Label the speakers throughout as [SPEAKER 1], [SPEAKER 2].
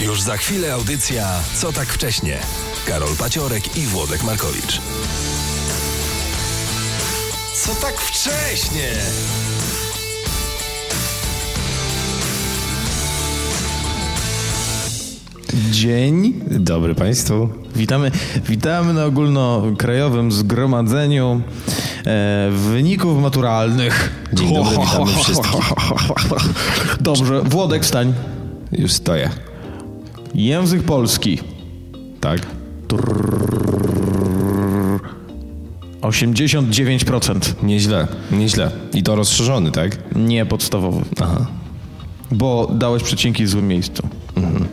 [SPEAKER 1] Już za chwilę audycja Co tak wcześnie? Karol Paciorek i Włodek Markowicz. Co tak wcześnie?
[SPEAKER 2] Dzień dobry Państwu. Witamy, witamy na ogólnokrajowym zgromadzeniu e, wyników maturalnych.
[SPEAKER 3] Dzień dobry, witamy wszystkich.
[SPEAKER 2] Dobrze, Włodek, wstań.
[SPEAKER 3] Już stoję.
[SPEAKER 2] Język polski.
[SPEAKER 3] Tak?
[SPEAKER 2] 89%.
[SPEAKER 3] Nieźle, nieźle. I to rozszerzony, tak?
[SPEAKER 2] Nie podstawowy.
[SPEAKER 3] Aha.
[SPEAKER 2] Bo dałeś przecinki w złym miejscu. Mhm.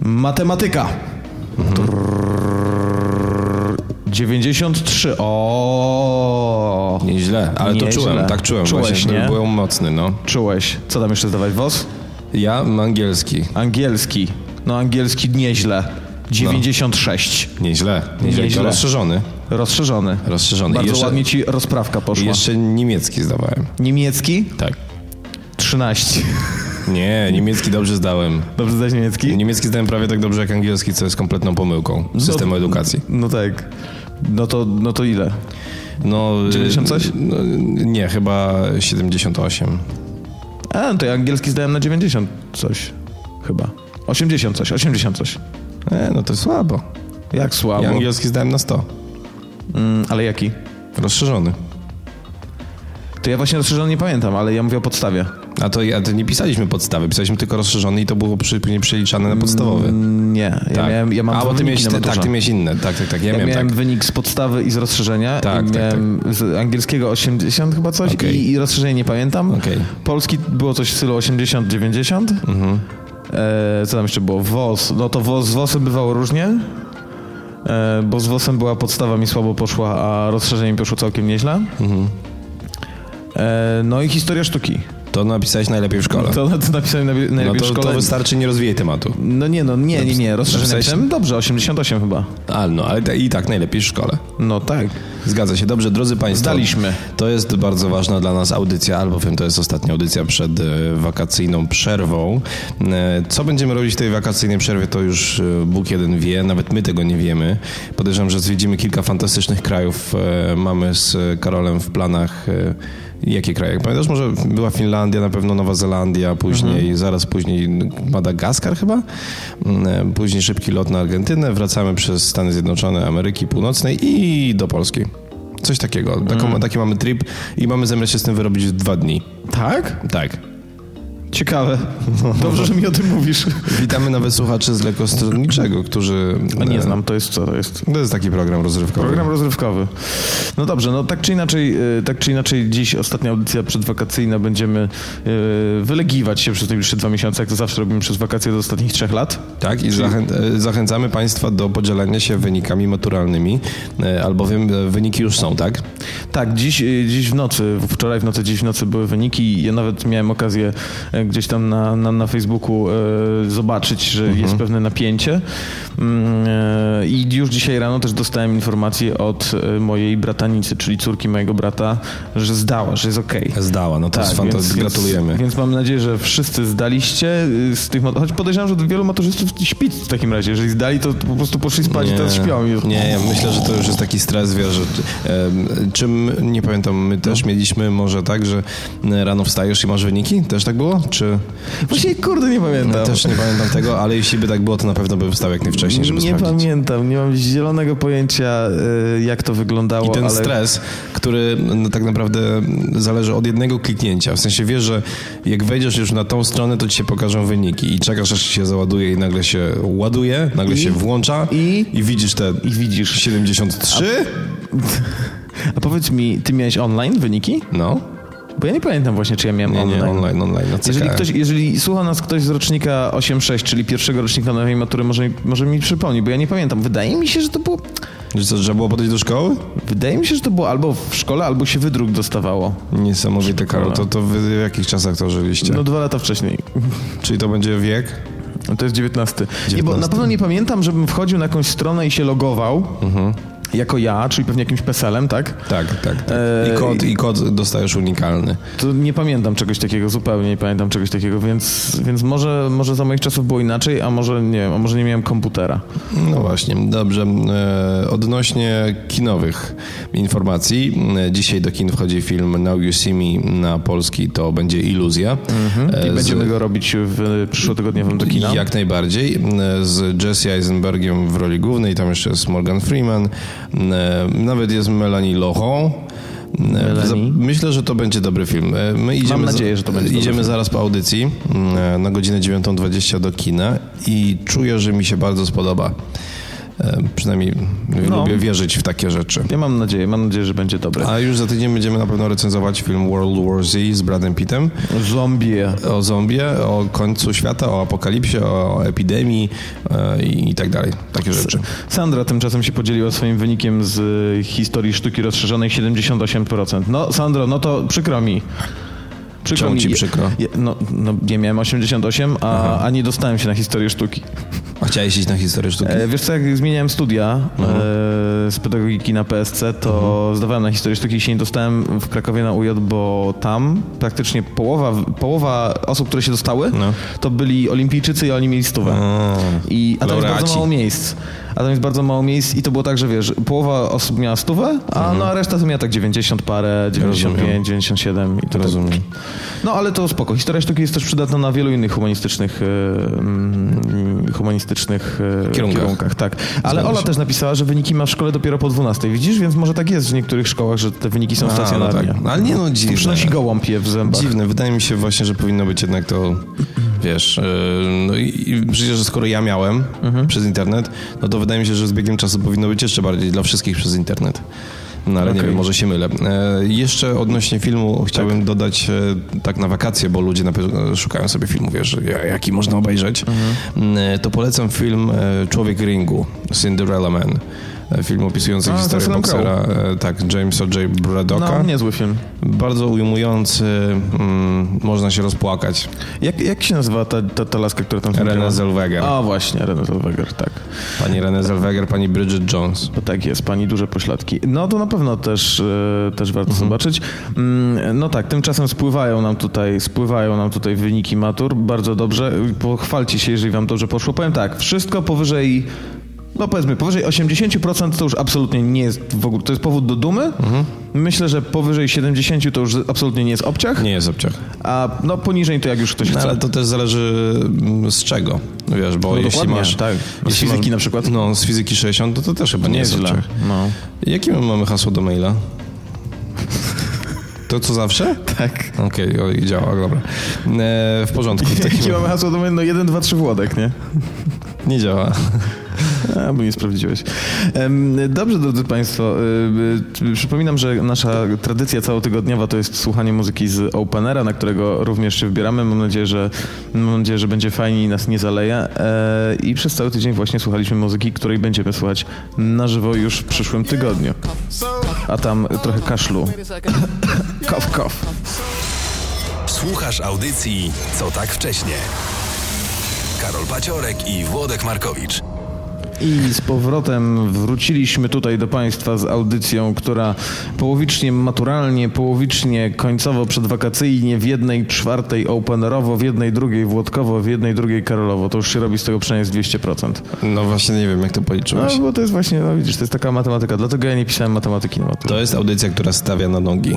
[SPEAKER 2] Matematyka. Mhm. 93. O.
[SPEAKER 3] Nieźle, ale to
[SPEAKER 2] Nieźle.
[SPEAKER 3] czułem, tak czułem
[SPEAKER 2] Czułeś,
[SPEAKER 3] właśnie.
[SPEAKER 2] nie?
[SPEAKER 3] Byłem mocny, no.
[SPEAKER 2] Czułeś. Co tam jeszcze zdawać? WOS?
[SPEAKER 3] Ja mam angielski.
[SPEAKER 2] Angielski. No angielski nieźle. 96.
[SPEAKER 3] Nieźle, nieźle. I
[SPEAKER 2] Nieźle.
[SPEAKER 3] to rozszerzony.
[SPEAKER 2] Rozszerzony.
[SPEAKER 3] Rozszerzony.
[SPEAKER 2] Bardzo
[SPEAKER 3] Jeszcze-
[SPEAKER 2] ładnie ci rozprawka poszła.
[SPEAKER 3] Jeszcze niemiecki zdawałem.
[SPEAKER 2] Niemiecki?
[SPEAKER 3] Tak.
[SPEAKER 2] 13.
[SPEAKER 3] Nie, niemiecki dobrze zdałem.
[SPEAKER 2] Dobrze zdać niemiecki?
[SPEAKER 3] Niemiecki zdałem prawie tak dobrze jak angielski, co jest kompletną pomyłką systemu edukacji.
[SPEAKER 2] No tak. No to, no to ile?
[SPEAKER 3] No, y,
[SPEAKER 2] 90 coś?
[SPEAKER 3] No, nie, chyba 78.
[SPEAKER 2] A, no to ja angielski zdałem na 90 coś. Chyba. 80 coś, 80 coś.
[SPEAKER 3] E, no to słabo.
[SPEAKER 2] Jak słabo.
[SPEAKER 3] Ja angielski zdałem na 100.
[SPEAKER 2] Mm, ale jaki?
[SPEAKER 3] Rozszerzony.
[SPEAKER 2] To ja właśnie rozszerzony nie pamiętam, ale ja mówię o podstawie.
[SPEAKER 3] A to, a to nie pisaliśmy podstawy, pisaliśmy tylko rozszerzony i to było przy, później przeliczane na podstawowy.
[SPEAKER 2] Nie, Mm, ja, miałem, ja mam
[SPEAKER 3] Tak. A,
[SPEAKER 2] dwa
[SPEAKER 3] bo ty miałeś,
[SPEAKER 2] wyniki na
[SPEAKER 3] ty, tak,
[SPEAKER 2] maturze.
[SPEAKER 3] ty miałeś inne. Tak, tak, tak. Ja,
[SPEAKER 2] Ja miałem,
[SPEAKER 3] miałem, tak.
[SPEAKER 2] wynik z podstawy i z rozszerzenia.
[SPEAKER 3] Tak,
[SPEAKER 2] I
[SPEAKER 3] tak,
[SPEAKER 2] miałem z angielskiego 80 chyba coś
[SPEAKER 3] Okej.
[SPEAKER 2] i, i rozszerzenie nie pamiętam.
[SPEAKER 3] Okej.
[SPEAKER 2] Polski było coś w stylu 80-90.
[SPEAKER 3] Mhm.
[SPEAKER 2] E, co tam jeszcze było? WOS. No to WOS, z WOSem bywało różnie. E, bo z WOSem była podstawa mi słabo poszła, a rozszerzenie mi poszło całkiem nieźle.
[SPEAKER 3] Mhm.
[SPEAKER 2] E, no i historia sztuki.
[SPEAKER 3] To napisałeś najlepiej w szkole.
[SPEAKER 2] To, to napisałem na, najlepiej
[SPEAKER 3] no
[SPEAKER 2] w
[SPEAKER 3] to,
[SPEAKER 2] szkole.
[SPEAKER 3] to wystarczy, nie rozwijaj tematu.
[SPEAKER 2] No nie, no nie, nie, nie. Rozszerzenie
[SPEAKER 3] napisałeś-
[SPEAKER 2] napisałem dobrze, 88 chyba.
[SPEAKER 3] A, no, ale te- i tak najlepiej w szkole.
[SPEAKER 2] No tak.
[SPEAKER 3] Zgadza się. Dobrze, drodzy Państwo.
[SPEAKER 2] Zdaliśmy.
[SPEAKER 3] To jest bardzo ważna dla nas audycja, albowiem to jest ostatnia audycja przed e, wakacyjną przerwą. E, Co będziemy robić w tej wakacyjnej przerwie, to już e, Bóg jeden wie, nawet my tego nie wiemy. Podejrzewam, że zwiedzimy kilka fantastycznych krajów. E, Mamy z Karolem w planach. e, Jakie kraje? Jak Pamiętasz, może była Finlandia, na pewno Nowa Zelandia, później, zaraz później Madagaskar chyba, Mm, później szybki lot na Argentynę, wracamy przez Stany Zjednoczone Ameryki Północnej i do Polski. Coś takiego. Taką,
[SPEAKER 2] Mm.
[SPEAKER 3] Taki mamy trip i mamy zamiar się z tym wyrobić w dwa dni.
[SPEAKER 2] Tak?
[SPEAKER 3] Tak.
[SPEAKER 2] Ciekawe. Dobrze, że mi o tym mówisz.
[SPEAKER 3] Witamy nawet słuchaczy z Lekostronniczego, którzy... e,
[SPEAKER 2] A nie znam, to jest co to jest?
[SPEAKER 3] To jest taki program rozrywkowy.
[SPEAKER 2] Program rozrywkowy. No dobrze, no tak czy inaczej, y, tak czy inaczej dziś ostatnia audycja przedwakacyjna będziemy y, wylegiwać się przez najbliższe dwa miesiące, jak to zawsze robimy przez wakacje do ostatnich trzech lat.
[SPEAKER 3] Tak, i zachę... e, zachęcamy Państwa do podzielenia się wynikami maturalnymi, e, albowiem e, wyniki już są, tak?
[SPEAKER 2] Tak, dziś, y, dziś w nocy, wczoraj w nocy, dziś w nocy były wyniki. Ja nawet miałem okazję e, gdzieś tam na, na, na Facebooku e, zobaczyć, że
[SPEAKER 3] Mhm.
[SPEAKER 2] jest pewne napięcie. Mm, e, I już dzisiaj rano też dostałem informację od e, mojej bratanicy, czyli córki mojego brata, że zdała, że jest okej. Tak,
[SPEAKER 3] Zdała, no to jest
[SPEAKER 2] więc-
[SPEAKER 3] fantastycznie. Gratulujemy.
[SPEAKER 2] Więc, więc mam nadzieję, że wszyscy zdaliście y, z tych mat- choć podejrzewam, że wielu maturzystów śpi w takim razie. Jeżeli zdali, to po prostu poszli spać i teraz śpią. I...
[SPEAKER 3] Nie, ja myślę, że to już jest taki stres, wiesz, że, em, czym, nie pamiętam, my
[SPEAKER 2] No.
[SPEAKER 3] też mieliśmy może tak, że e, rano wstajesz i masz wyniki? Też tak było? Czy...
[SPEAKER 2] Właśnie kurde nie
[SPEAKER 3] Ja
[SPEAKER 2] pamiętam.
[SPEAKER 3] też nie pamiętam tego, ale jeśli by tak było, to na pewno bym wstał jak najwcześniej, żeby
[SPEAKER 2] nie
[SPEAKER 3] sprawdzić.
[SPEAKER 2] pamiętam, nie mam zielonego pojęcia, y, jak to wyglądało.
[SPEAKER 3] I ten
[SPEAKER 2] ale...
[SPEAKER 3] stres, który no, tak naprawdę zależy od jednego kliknięcia. W sensie wiesz, że jak wejdziesz już na tą stronę, to ci się pokażą wyniki i czekasz, aż się załaduje i nagle się ładuje, nagle się włącza
[SPEAKER 2] i-
[SPEAKER 3] widzisz te
[SPEAKER 2] I widzisz.
[SPEAKER 3] 73.
[SPEAKER 2] A powiedz mi, ty miałeś online wyniki?
[SPEAKER 3] No,
[SPEAKER 2] Bo ja nie pamiętam właśnie, czy ja miałem
[SPEAKER 3] nie,
[SPEAKER 2] online.
[SPEAKER 3] nie, online, online. No,
[SPEAKER 2] Jeżeli,
[SPEAKER 3] CKM.
[SPEAKER 2] ktoś, jeżeli słucha nas ktoś z rocznika 8.6, czyli pierwszego rocznika nowej matury, może, może mi przypomni, bo ja nie pamiętam. Wydaje mi się, że to było
[SPEAKER 3] Że co, trzeba było podejść do szkoły?
[SPEAKER 2] Wydaje mi się, że to było albo w szkole, albo się wydruk dostawało.
[SPEAKER 3] Niesamowite, Karol. To, to wy w jakich czasach to żyliście?
[SPEAKER 2] No dwa lata wcześniej.
[SPEAKER 3] Czyli to będzie wiek?
[SPEAKER 2] No To jest 19. Nie, bo na
[SPEAKER 3] 19. Mhm.
[SPEAKER 2] pewno nie pamiętam, żebym wchodził na jakąś stronę i się logował. jako ja, czyli pewnie jakimś peselem, tak?
[SPEAKER 3] Tak, tak. tak.
[SPEAKER 2] E,
[SPEAKER 3] I, kod, I kod dostajesz unikalny.
[SPEAKER 2] To nie pamiętam czegoś takiego, zupełnie nie pamiętam czegoś takiego, więc, więc może, może za moich czasów było inaczej, a może nie wiem, a może nie miałem komputera.
[SPEAKER 3] No właśnie, dobrze. E, Odnośnie kinowych informacji. e, Dzisiaj do kin wchodzi film Now You See Me na polski, to będzie Iluzja. E,
[SPEAKER 2] Mhm. I
[SPEAKER 3] z-
[SPEAKER 2] będziemy go robić w przyszłotygodniowym do kina.
[SPEAKER 3] Jak najbardziej. E, Z Jesse Eisenbergiem w roli głównej, tam jeszcze jest Morgan Freeman. E, Nawet jest Melanie Lochon. E, za- Myślę, że to będzie dobry film. E, My idziemy za-
[SPEAKER 2] nadzieję, że to będzie dobry
[SPEAKER 3] Idziemy
[SPEAKER 2] film.
[SPEAKER 3] zaraz po audycji e, na godzinę 9.20 do kina i czuję, że mi się bardzo spodoba. E, Przynajmniej
[SPEAKER 2] No.
[SPEAKER 3] lubię wierzyć w takie rzeczy.
[SPEAKER 2] Ja mam nadzieję, mam nadzieję, że będzie dobry.
[SPEAKER 3] A już za tydzień będziemy na pewno recenzować film World War Z z Bradem Pittem
[SPEAKER 2] Zombie.
[SPEAKER 3] o zombie, o końcu świata, o apokalipsie, o epidemii e, i tak dalej. Takie rzeczy.
[SPEAKER 2] Sandra tymczasem się podzieliła swoim wynikiem z y, historii sztuki rozszerzonej 78%. No, Sandro, no to przykro mi. Przykro
[SPEAKER 3] Czemu ci przykro?
[SPEAKER 2] Ja, no, no, nie miałem 88, a, a nie dostałem się na historię sztuki.
[SPEAKER 3] A chciałeś iść na historię sztuki?
[SPEAKER 2] E, wiesz co, jak zmieniałem studia e, z pedagogiki na PSC, to
[SPEAKER 3] Mhm.
[SPEAKER 2] zdawałem na historię sztuki i się nie dostałem w Krakowie na UJ, bo tam praktycznie połowa, połowa osób, które się dostały,
[SPEAKER 3] No.
[SPEAKER 2] to byli olimpijczycy i oni mieli stówę. I, a tam jest
[SPEAKER 3] Laureaci.
[SPEAKER 2] bardzo mało miejsc. A tam jest bardzo mało miejsc i to było tak, że wiesz, połowa osób miała stówę, a, no, a reszta to miała tak 90 parę, 95,
[SPEAKER 3] Mhm. Rozumiem.
[SPEAKER 2] 97 i to tak.
[SPEAKER 3] Rozumiem.
[SPEAKER 2] No ale to spoko. Historia sztuki jest też przydatna na wielu innych humanistycznych, e, mm, humanistycznych e,
[SPEAKER 3] Kierunkach.
[SPEAKER 2] kierunkach tak. Ale
[SPEAKER 3] Zgadza
[SPEAKER 2] Ola
[SPEAKER 3] się.
[SPEAKER 2] też napisała, że wyniki ma w szkole dopiero po 12. Widzisz, więc może tak jest w niektórych szkołach, że te wyniki są
[SPEAKER 3] A,
[SPEAKER 2] stacjonarnie.
[SPEAKER 3] no tak. Ale nie no, dziwne.
[SPEAKER 2] To przynosi gołąb je w zębach.
[SPEAKER 3] Dziwne, wydaje mi się właśnie, że powinno być jednak to, wiesz, e, no i, i przecież skoro ja miałem
[SPEAKER 2] Mhm.
[SPEAKER 3] przez internet, no to wydaje mi się, że z biegiem czasu powinno być jeszcze bardziej dla wszystkich przez internet. No ale nie wiem, może się mylę. E, jeszcze odnośnie filmu chciałbym
[SPEAKER 2] Tak.
[SPEAKER 3] dodać e, tak na wakacje, bo ludzie na pewno szukają sobie filmu, wiesz, ja- jaki można obejrzeć.
[SPEAKER 2] Mhm.
[SPEAKER 3] E, to polecam film e, Człowiek Ringu, Cinderella Man. E, Film opisujący
[SPEAKER 2] A, z
[SPEAKER 3] historię
[SPEAKER 2] Russellem Crowe.
[SPEAKER 3] boksera, e, tak, Jamesa J. Bradocka.
[SPEAKER 2] No, niezły film.
[SPEAKER 3] Bardzo ujmujący, mm, można się rozpłakać.
[SPEAKER 2] Jak, jak się nazywa ta, ta, ta laska, która tam
[SPEAKER 3] Renée Zellweger.
[SPEAKER 2] A właśnie, Renée Zellweger, tak.
[SPEAKER 3] Pani Renée Zellweger, pani Bridget Jones.
[SPEAKER 2] To tak jest, pani duże pośladki. No to na pewno też, e, też warto
[SPEAKER 3] Mhm.
[SPEAKER 2] zobaczyć. Mm, No tak, tymczasem spływają nam tutaj, spływają nam tutaj wyniki matur. Bardzo dobrze. Pochwalcie się, jeżeli wam dobrze poszło. Powiem tak, wszystko powyżej. No powiedzmy, powyżej 80% to już absolutnie nie jest w ogóle, to jest powód do dumy.
[SPEAKER 3] Mhm.
[SPEAKER 2] Myślę, że powyżej 70% to już absolutnie nie jest obciach,
[SPEAKER 3] Nie jest obciach.
[SPEAKER 2] a no poniżej to jak już ktoś
[SPEAKER 3] No,
[SPEAKER 2] chce.
[SPEAKER 3] ale to też zależy mm, z czego, wiesz, bo jeśli
[SPEAKER 2] dokładnie,
[SPEAKER 3] masz...
[SPEAKER 2] tak. Z
[SPEAKER 3] jeśli
[SPEAKER 2] fizyki na przykład?
[SPEAKER 3] No, z fizyki 60, to, to też chyba nie, jest obciach.
[SPEAKER 2] No.
[SPEAKER 3] Jakie my mamy hasło do maila? To co zawsze?
[SPEAKER 2] Tak.
[SPEAKER 3] Okej, oj, działa, dobra. E, w porządku. W
[SPEAKER 2] Jakie
[SPEAKER 3] takim...
[SPEAKER 2] mamy hasło do no 1, 2, 3 Włodek, nie?
[SPEAKER 3] Nie działa.
[SPEAKER 2] A, bo nie sprawdziłeś. Em, Dobrze, drodzy Państwo, y, y, przypominam, że nasza tradycja całotygodniowa to jest słuchanie muzyki z Openera, na którego również się wybieramy. Mam nadzieję, że, mam nadzieję, że będzie fajnie i nas nie zaleje. E, I przez cały tydzień właśnie słuchaliśmy muzyki, której będziemy słuchać na żywo już w przyszłym tygodniu. A tam trochę kaszlu. Kof, kof.
[SPEAKER 1] Słuchasz audycji Co tak wcześnie. Karol Paciorek i Włodek Markowicz.
[SPEAKER 2] I z powrotem wróciliśmy tutaj do Państwa z audycją, która połowicznie maturalnie, połowicznie końcowo przedwakacyjnie, w jednej czwartej openerowo, w jednej drugiej włodkowo, w jednej drugiej karolowo. To już się robi z tego przynajmniej z 200%.
[SPEAKER 3] No właśnie nie wiem, jak to
[SPEAKER 2] No
[SPEAKER 3] policzyłeś.
[SPEAKER 2] bo to jest właśnie, no widzisz, to jest taka matematyka. Dlatego ja nie pisałem matematyki na maturze.
[SPEAKER 3] To jest audycja, która stawia na nogi.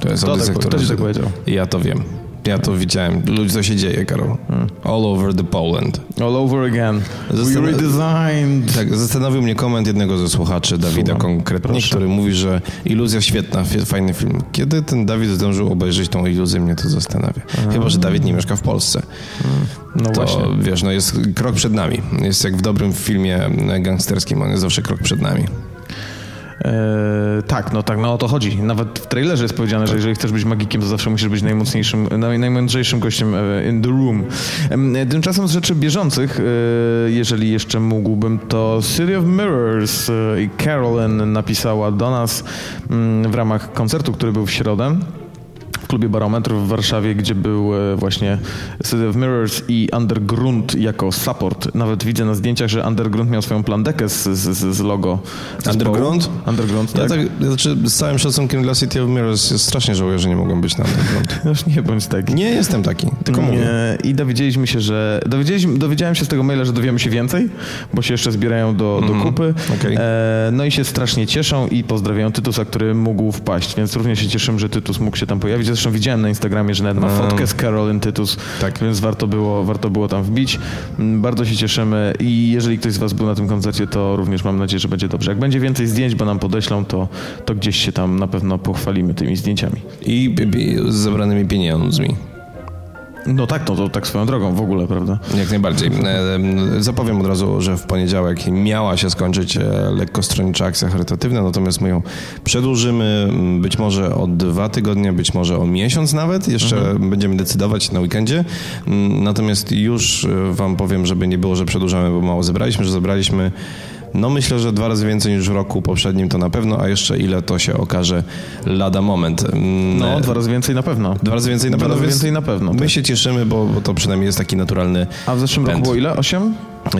[SPEAKER 3] To jest
[SPEAKER 2] To
[SPEAKER 3] audycja,
[SPEAKER 2] tak-
[SPEAKER 3] która...
[SPEAKER 2] to ci tak powiedział.
[SPEAKER 3] Ja to wiem. Ja to widziałem. Ludzie, co się dzieje, Karol.
[SPEAKER 2] Hmm.
[SPEAKER 3] All over the Poland.
[SPEAKER 2] All over again. We
[SPEAKER 3] Zastan-
[SPEAKER 2] redesigned.
[SPEAKER 3] Tak, zastanowił mnie koment jednego ze słuchaczy, Dawida
[SPEAKER 2] Słucham.
[SPEAKER 3] konkretnie,
[SPEAKER 2] Proszę.
[SPEAKER 3] który mówi, że iluzja świetna, fi- fajny film. Kiedy ten Dawid zdążył obejrzeć tą iluzję, mnie to zastanawia. Chyba, że Dawid nie mieszka w Polsce.
[SPEAKER 2] No
[SPEAKER 3] To,
[SPEAKER 2] Hmm. właśnie.
[SPEAKER 3] wiesz, no jest krok przed nami. Jest jak w dobrym filmie e, gangsterskim, on jest zawsze krok przed nami.
[SPEAKER 2] Eee, tak, no tak, no o to chodzi. Nawet w trailerze jest powiedziane, że jeżeli chcesz być magikiem, to zawsze musisz być najmocniejszym, naj, najmądrzejszym gościem e, in the room. Em, e, Tymczasem z rzeczy bieżących, e, jeżeli jeszcze mógłbym, to City of Mirrors e, i Carolyn napisała do nas mm, w ramach koncertu, który był w środę w klubie Barometr w Warszawie, gdzie był e, właśnie City of Mirrors i Underground jako support. Nawet widzę na zdjęciach, że Underground miał swoją plandekę z, z, z z logo. zespołu.
[SPEAKER 3] Underground?
[SPEAKER 2] Underground,
[SPEAKER 3] Ja
[SPEAKER 2] tak.
[SPEAKER 3] tak, znaczy, z całym szacunkiem dla City of Mirrors ja strasznie żałuję, że nie mogłem być na Underground.
[SPEAKER 2] no Już nie bądź taki.
[SPEAKER 3] Nie jestem taki, tylko mówię.
[SPEAKER 2] E, I dowiedzieliśmy się, że. Dowiedzieliśmy, dowiedziałem się z tego maila, że dowiemy się więcej, bo się jeszcze zbierają do, do kupy.
[SPEAKER 3] Mhm. okej.
[SPEAKER 2] E, no i się strasznie cieszą i pozdrawiają Tytusa, który mógł wpaść, więc również się cieszymy, że Tytus mógł się tam pojawić. Zresztą widziałem na Instagramie, że nawet ma fotkę z Carolyn Tytus,
[SPEAKER 3] Tak.
[SPEAKER 2] więc warto było, warto było tam wbić. Mm, Bardzo się cieszymy i jeżeli ktoś z Was był na tym koncercie, to również mam nadzieję, że będzie dobrze. Jak będzie więcej zdjęć, bo nam podeślą, to, to gdzieś się tam na pewno pochwalimy tymi zdjęciami.
[SPEAKER 3] I b- b- z zebranymi pieniędzmi.
[SPEAKER 2] No tak, no to tak swoją drogą w ogóle, prawda?
[SPEAKER 3] Jak najbardziej. E, em, Zapowiem od razu, że w poniedziałek miała się skończyć e, lekkostronnicza akcja charytatywna, natomiast my ją przedłużymy m, być może o dwa tygodnie, być może o miesiąc nawet. Jeszcze
[SPEAKER 2] Mhm.
[SPEAKER 3] będziemy decydować na weekendzie. M, Natomiast już e, wam powiem, żeby nie było, że przedłużamy, bo mało zebraliśmy, że zebraliśmy no myślę, że dwa razy więcej niż w roku poprzednim to na pewno, a jeszcze ile to się okaże lada moment. M,
[SPEAKER 2] No, dwa razy więcej na pewno.
[SPEAKER 3] dwa razy więcej na
[SPEAKER 2] Dwa
[SPEAKER 3] pewno.
[SPEAKER 2] razy
[SPEAKER 3] No, więc
[SPEAKER 2] więcej na pewno,
[SPEAKER 3] My
[SPEAKER 2] tak.
[SPEAKER 3] się cieszymy, bo, bo to przynajmniej jest taki naturalny
[SPEAKER 2] A w zeszłym roku
[SPEAKER 3] Pęd.
[SPEAKER 2] było ile? 8?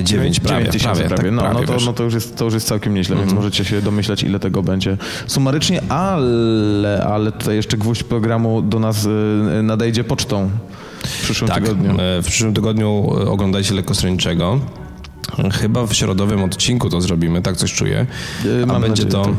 [SPEAKER 3] Dziewięć, prawie,
[SPEAKER 2] tysięcy
[SPEAKER 3] prawie,
[SPEAKER 2] prawie.
[SPEAKER 3] tak,
[SPEAKER 2] no,
[SPEAKER 3] prawie,
[SPEAKER 2] no,
[SPEAKER 3] wiesz. Mhm.
[SPEAKER 2] to, no to, już jest, to już jest całkiem nieźle, więc możecie się domyślać, ile tego będzie sumarycznie, ale, ale tutaj jeszcze gwóźdź programu do nas y, nadejdzie pocztą w przyszłym
[SPEAKER 3] Tak,
[SPEAKER 2] tygodniu.
[SPEAKER 3] e, w przyszłym tygodniu e, oglądajcie lekkostronniczego. Chyba w środowym odcinku to zrobimy, tak coś czuję.
[SPEAKER 2] E,
[SPEAKER 3] A
[SPEAKER 2] mam
[SPEAKER 3] będzie to,
[SPEAKER 2] nadzieję,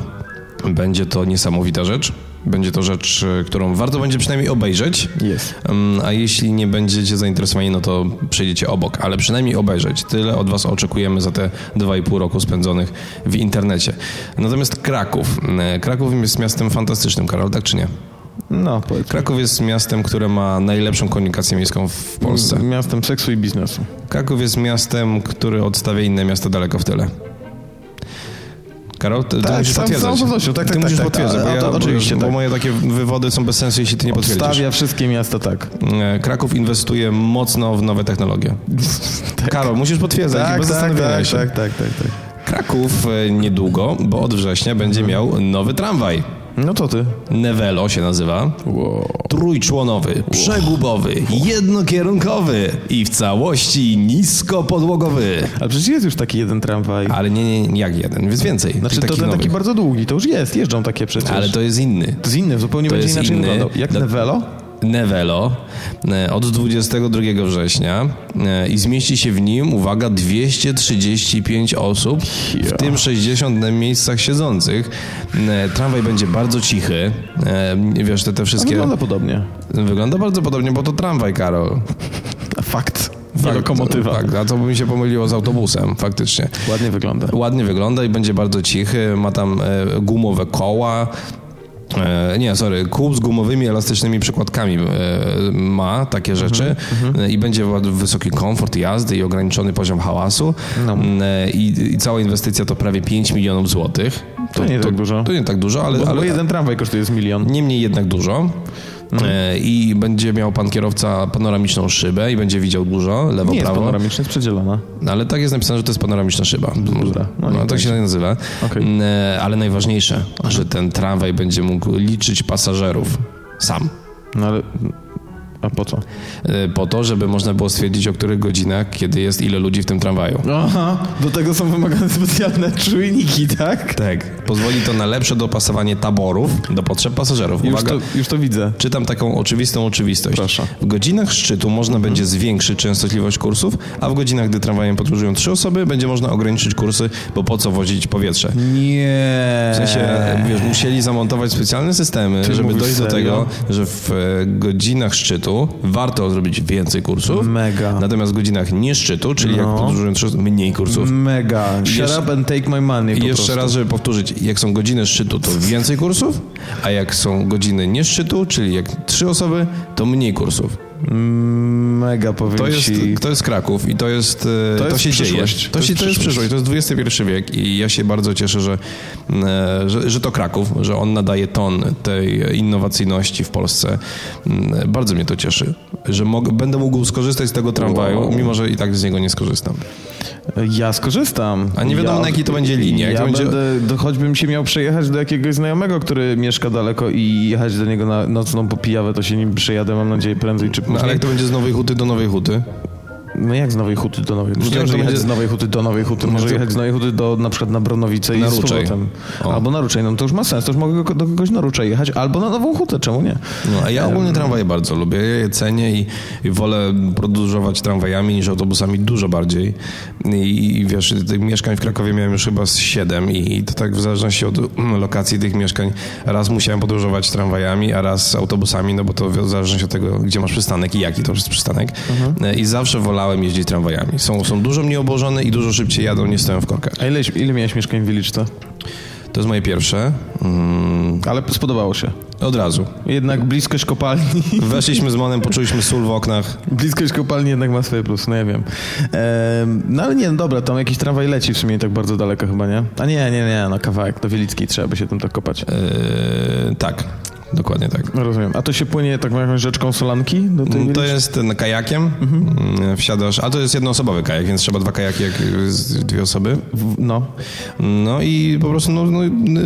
[SPEAKER 2] tak.
[SPEAKER 3] będzie to niesamowita rzecz. Będzie to rzecz, e, którą warto będzie przynajmniej obejrzeć.
[SPEAKER 2] Jest.
[SPEAKER 3] Mm, A jeśli nie będziecie zainteresowani, no to przejdziecie obok, ale przynajmniej obejrzeć. Tyle od Was oczekujemy za te 2,5 roku spędzonych w internecie. Natomiast Kraków. E, Kraków jest miastem fantastycznym, Karol, tak czy nie?
[SPEAKER 2] No, powiedz.
[SPEAKER 3] Kraków jest miastem, które ma najlepszą komunikację miejską w Polsce.
[SPEAKER 2] Miastem seksu i biznesu.
[SPEAKER 3] Kraków jest miastem, który odstawia inne miasta daleko w tyle. Karol, ty, ty
[SPEAKER 2] Tak,
[SPEAKER 3] musisz
[SPEAKER 2] sam-
[SPEAKER 3] potwierdzać.
[SPEAKER 2] sam Zosiu, tak,
[SPEAKER 3] ty
[SPEAKER 2] tak,
[SPEAKER 3] musisz
[SPEAKER 2] tak, tak.
[SPEAKER 3] potwierdzać, bo,
[SPEAKER 2] A
[SPEAKER 3] ja,
[SPEAKER 2] to
[SPEAKER 3] bo-
[SPEAKER 2] oczywiście,
[SPEAKER 3] bo
[SPEAKER 2] tak.
[SPEAKER 3] moje takie wywody są bez sensu, jeśli ty nie potwierdzisz.
[SPEAKER 2] Stawia wszystkie miasta tak.
[SPEAKER 3] E, Kraków inwestuje mocno w nowe technologie. Karol, musisz potwierdzać, bez zastanowienia Tak, się.
[SPEAKER 2] tak, tak, tak, tak. Mhm.
[SPEAKER 3] Kraków e, niedługo, bo od września będzie miał nowy tramwaj.
[SPEAKER 2] No to ty.
[SPEAKER 3] Nevelo się nazywa. Trójczłonowy, przegubowy, jednokierunkowy i w całości niskopodłogowy.
[SPEAKER 2] Ale przecież jest już taki jeden tramwaj.
[SPEAKER 3] Ale nie, nie, nie, jak jeden, więc więcej.
[SPEAKER 2] Znaczy to ten
[SPEAKER 3] nowy.
[SPEAKER 2] taki bardzo długi, to już jest, jeżdżą takie przecież.
[SPEAKER 3] Ale to jest inny.
[SPEAKER 2] To jest inny, zupełnie
[SPEAKER 3] To
[SPEAKER 2] będzie
[SPEAKER 3] jest
[SPEAKER 2] inaczej
[SPEAKER 3] inny.
[SPEAKER 2] wyglądał. Jak
[SPEAKER 3] Do-
[SPEAKER 2] Nevelo? No,
[SPEAKER 3] Nevelo e, od 22 września e, i zmieści się w nim, uwaga, 235 osób, w tym 60 na miejscach siedzących. E, Tramwaj będzie bardzo cichy. E, Wiesz, te, te wszystkie...
[SPEAKER 2] Wygląda podobnie.
[SPEAKER 3] Wygląda bardzo podobnie, bo to tramwaj, Karol.
[SPEAKER 2] Fakt. Nie lokomotywa.
[SPEAKER 3] Fakt, a to by mi się pomyliło z autobusem, faktycznie.
[SPEAKER 2] Ładnie wygląda.
[SPEAKER 3] Ładnie wygląda i będzie bardzo cichy. Ma tam e, gumowe koła. E, nie, sorry, kół z gumowymi, elastycznymi przykładkami e, ma takie
[SPEAKER 2] Mhm,
[SPEAKER 3] rzeczy E, i będzie ład- wysoki komfort jazdy i ograniczony poziom hałasu.
[SPEAKER 2] No.
[SPEAKER 3] Mm, E, i, I cała inwestycja to prawie 5 milionów złotych.
[SPEAKER 2] To nie tak dużo.
[SPEAKER 3] To nie tak dużo, ale,
[SPEAKER 2] Bo
[SPEAKER 3] ale
[SPEAKER 2] ale jeden No. tramwaj kosztuje z milion.
[SPEAKER 3] Niemniej jednak dużo. E, I będzie miał pan kierowca panoramiczną szybę i będzie widział dużo, lewo,
[SPEAKER 2] Nie jest
[SPEAKER 3] prawo.
[SPEAKER 2] panoramiczny, jest przedzielona.
[SPEAKER 3] No, ale tak jest napisane, że to jest panoramiczna szyba.
[SPEAKER 2] Bzdura.
[SPEAKER 3] No,
[SPEAKER 2] No, nie
[SPEAKER 3] tak się nazywa.
[SPEAKER 2] Okej.
[SPEAKER 3] N- Ale najważniejsze, że ten tramwaj będzie mógł liczyć pasażerów sam.
[SPEAKER 2] No ale... A po co?
[SPEAKER 3] E, Po to, żeby można było stwierdzić, o których godzinach, kiedy jest ile ludzi w tym tramwaju.
[SPEAKER 2] No. Aha, do tego są wymagane specjalne czujniki, tak?
[SPEAKER 3] Tak. Pozwoli to na lepsze dopasowanie taborów do potrzeb pasażerów.
[SPEAKER 2] Już
[SPEAKER 3] Uwaga.
[SPEAKER 2] to, już to widzę.
[SPEAKER 3] Czytam taką oczywistą oczywistość.
[SPEAKER 2] Proszę. Mhm.
[SPEAKER 3] W godzinach szczytu można będzie zwiększyć częstotliwość kursów, a w godzinach, gdy tramwajem podróżują trzy osoby, będzie można ograniczyć kursy, bo po co wozić powietrze?
[SPEAKER 2] Nie.
[SPEAKER 3] W sensie, wiesz, musieli zamontować specjalne systemy,
[SPEAKER 2] Ty
[SPEAKER 3] żeby
[SPEAKER 2] Eee. mówisz
[SPEAKER 3] dojść do
[SPEAKER 2] serio?
[SPEAKER 3] tego, że w e, godzinach szczytu warto zrobić więcej kursów,
[SPEAKER 2] Mega.
[SPEAKER 3] natomiast w godzinach nie szczytu, czyli jak
[SPEAKER 2] No.
[SPEAKER 3] podróżują trzy osoby, mniej kursów.
[SPEAKER 2] Mega. Shut
[SPEAKER 3] Jeszcze-
[SPEAKER 2] up and take my money
[SPEAKER 3] I
[SPEAKER 2] po
[SPEAKER 3] jeszcze
[SPEAKER 2] prostu.
[SPEAKER 3] raz, żeby powtórzyć, jak są godziny szczytu, to więcej kursów, a jak są godziny nie szczytu, czyli jak trzy osoby, to mniej kursów.
[SPEAKER 2] Mega powiem
[SPEAKER 3] To jest,
[SPEAKER 2] ci.
[SPEAKER 3] to jest Kraków i to jest, e, to,
[SPEAKER 2] jest
[SPEAKER 3] się
[SPEAKER 2] przyszłość.
[SPEAKER 3] dzieje. To,
[SPEAKER 2] To
[SPEAKER 3] się,
[SPEAKER 2] jest
[SPEAKER 3] to jest przyszłość,
[SPEAKER 2] przyszłość.
[SPEAKER 3] to jest XXI wiek i ja się bardzo cieszę, że, e, że, że to Kraków, że on nadaje ton tej innowacyjności w Polsce. Mm, Bardzo mnie to cieszy, że mog- będę mógł skorzystać z tego tramwaju, mimo że i tak z niego nie skorzystam.
[SPEAKER 2] Ja skorzystam.
[SPEAKER 3] A nie wiadomo,
[SPEAKER 2] ja,
[SPEAKER 3] na jakiej to będzie linii, jak
[SPEAKER 2] Ja
[SPEAKER 3] to będzie-
[SPEAKER 2] będę, do, choćbym się miał przejechać do jakiegoś znajomego, który mieszka daleko i jechać do niego na nocną popijawę, to się nim przejadę, mam nadzieję, prędzej czy
[SPEAKER 3] No,
[SPEAKER 2] później.
[SPEAKER 3] ale jak to będzie z Nowej Huty do Nowej Huty?
[SPEAKER 2] No jak z Nowej Huty do Nowej Huty?
[SPEAKER 3] jak
[SPEAKER 2] Nie
[SPEAKER 3] to
[SPEAKER 2] może jechać
[SPEAKER 3] będzie-
[SPEAKER 2] z Nowej Huty do Nowej Huty,
[SPEAKER 3] No
[SPEAKER 2] może
[SPEAKER 3] to-
[SPEAKER 2] jechać z Nowej Huty do na przykład na Bronowice
[SPEAKER 3] Na
[SPEAKER 2] i z
[SPEAKER 3] Ruczej.
[SPEAKER 2] powrotem.
[SPEAKER 3] O.
[SPEAKER 2] Albo na Ruczej, no to już ma sens, to już mogę do kogoś na Ruczej jechać, albo na Nową Hutę, czemu nie?
[SPEAKER 3] No, a ja ogólnie tramwaje bardzo lubię, ja je cenię i, i wolę podróżować tramwajami niż autobusami dużo bardziej. I, i wiesz, tych mieszkań w Krakowie miałem już chyba z 7 i to tak w zależności od mm, lokacji tych mieszkań raz musiałem podróżować tramwajami, a raz autobusami, no bo to w zależności od tego, gdzie masz przystanek i jaki to jest przystanek. E, I zawsze wolałem jeździć tramwajami. Są, są dużo mniej obłożone i dużo szybciej jadą, nie stoją w korkach.
[SPEAKER 2] A ile, ile miałeś mieszkań w Wieliczce?
[SPEAKER 3] To jest moje pierwsze. Mm,
[SPEAKER 2] Ale spodobało się.
[SPEAKER 3] od razu.
[SPEAKER 2] Jednak bliskość kopalni.
[SPEAKER 3] Weszliśmy z Monem, poczuliśmy sól w oknach.
[SPEAKER 2] Bliskość kopalni jednak ma swoje plusy, no ja wiem. Ehm, no ale nie, no dobra, tam jakiś tramwaj leci w sumie tak bardzo daleko chyba, nie? A nie, nie, nie, no kawałek do Wielickiej trzeba by się tam tak kopać.
[SPEAKER 3] Eee, tak, dokładnie tak.
[SPEAKER 2] No, Rozumiem. A to się płynie taką jakąś rzeczką Solanki do tej
[SPEAKER 3] Mm, To
[SPEAKER 2] Wieliczki?
[SPEAKER 3] jest ten kajakiem,
[SPEAKER 2] Mhm.
[SPEAKER 3] Mm, wsiadasz, a to jest jednoosobowy kajak, więc trzeba dwa kajaki, jak z dwie osoby.
[SPEAKER 2] W- No,
[SPEAKER 3] No i po prostu no, no,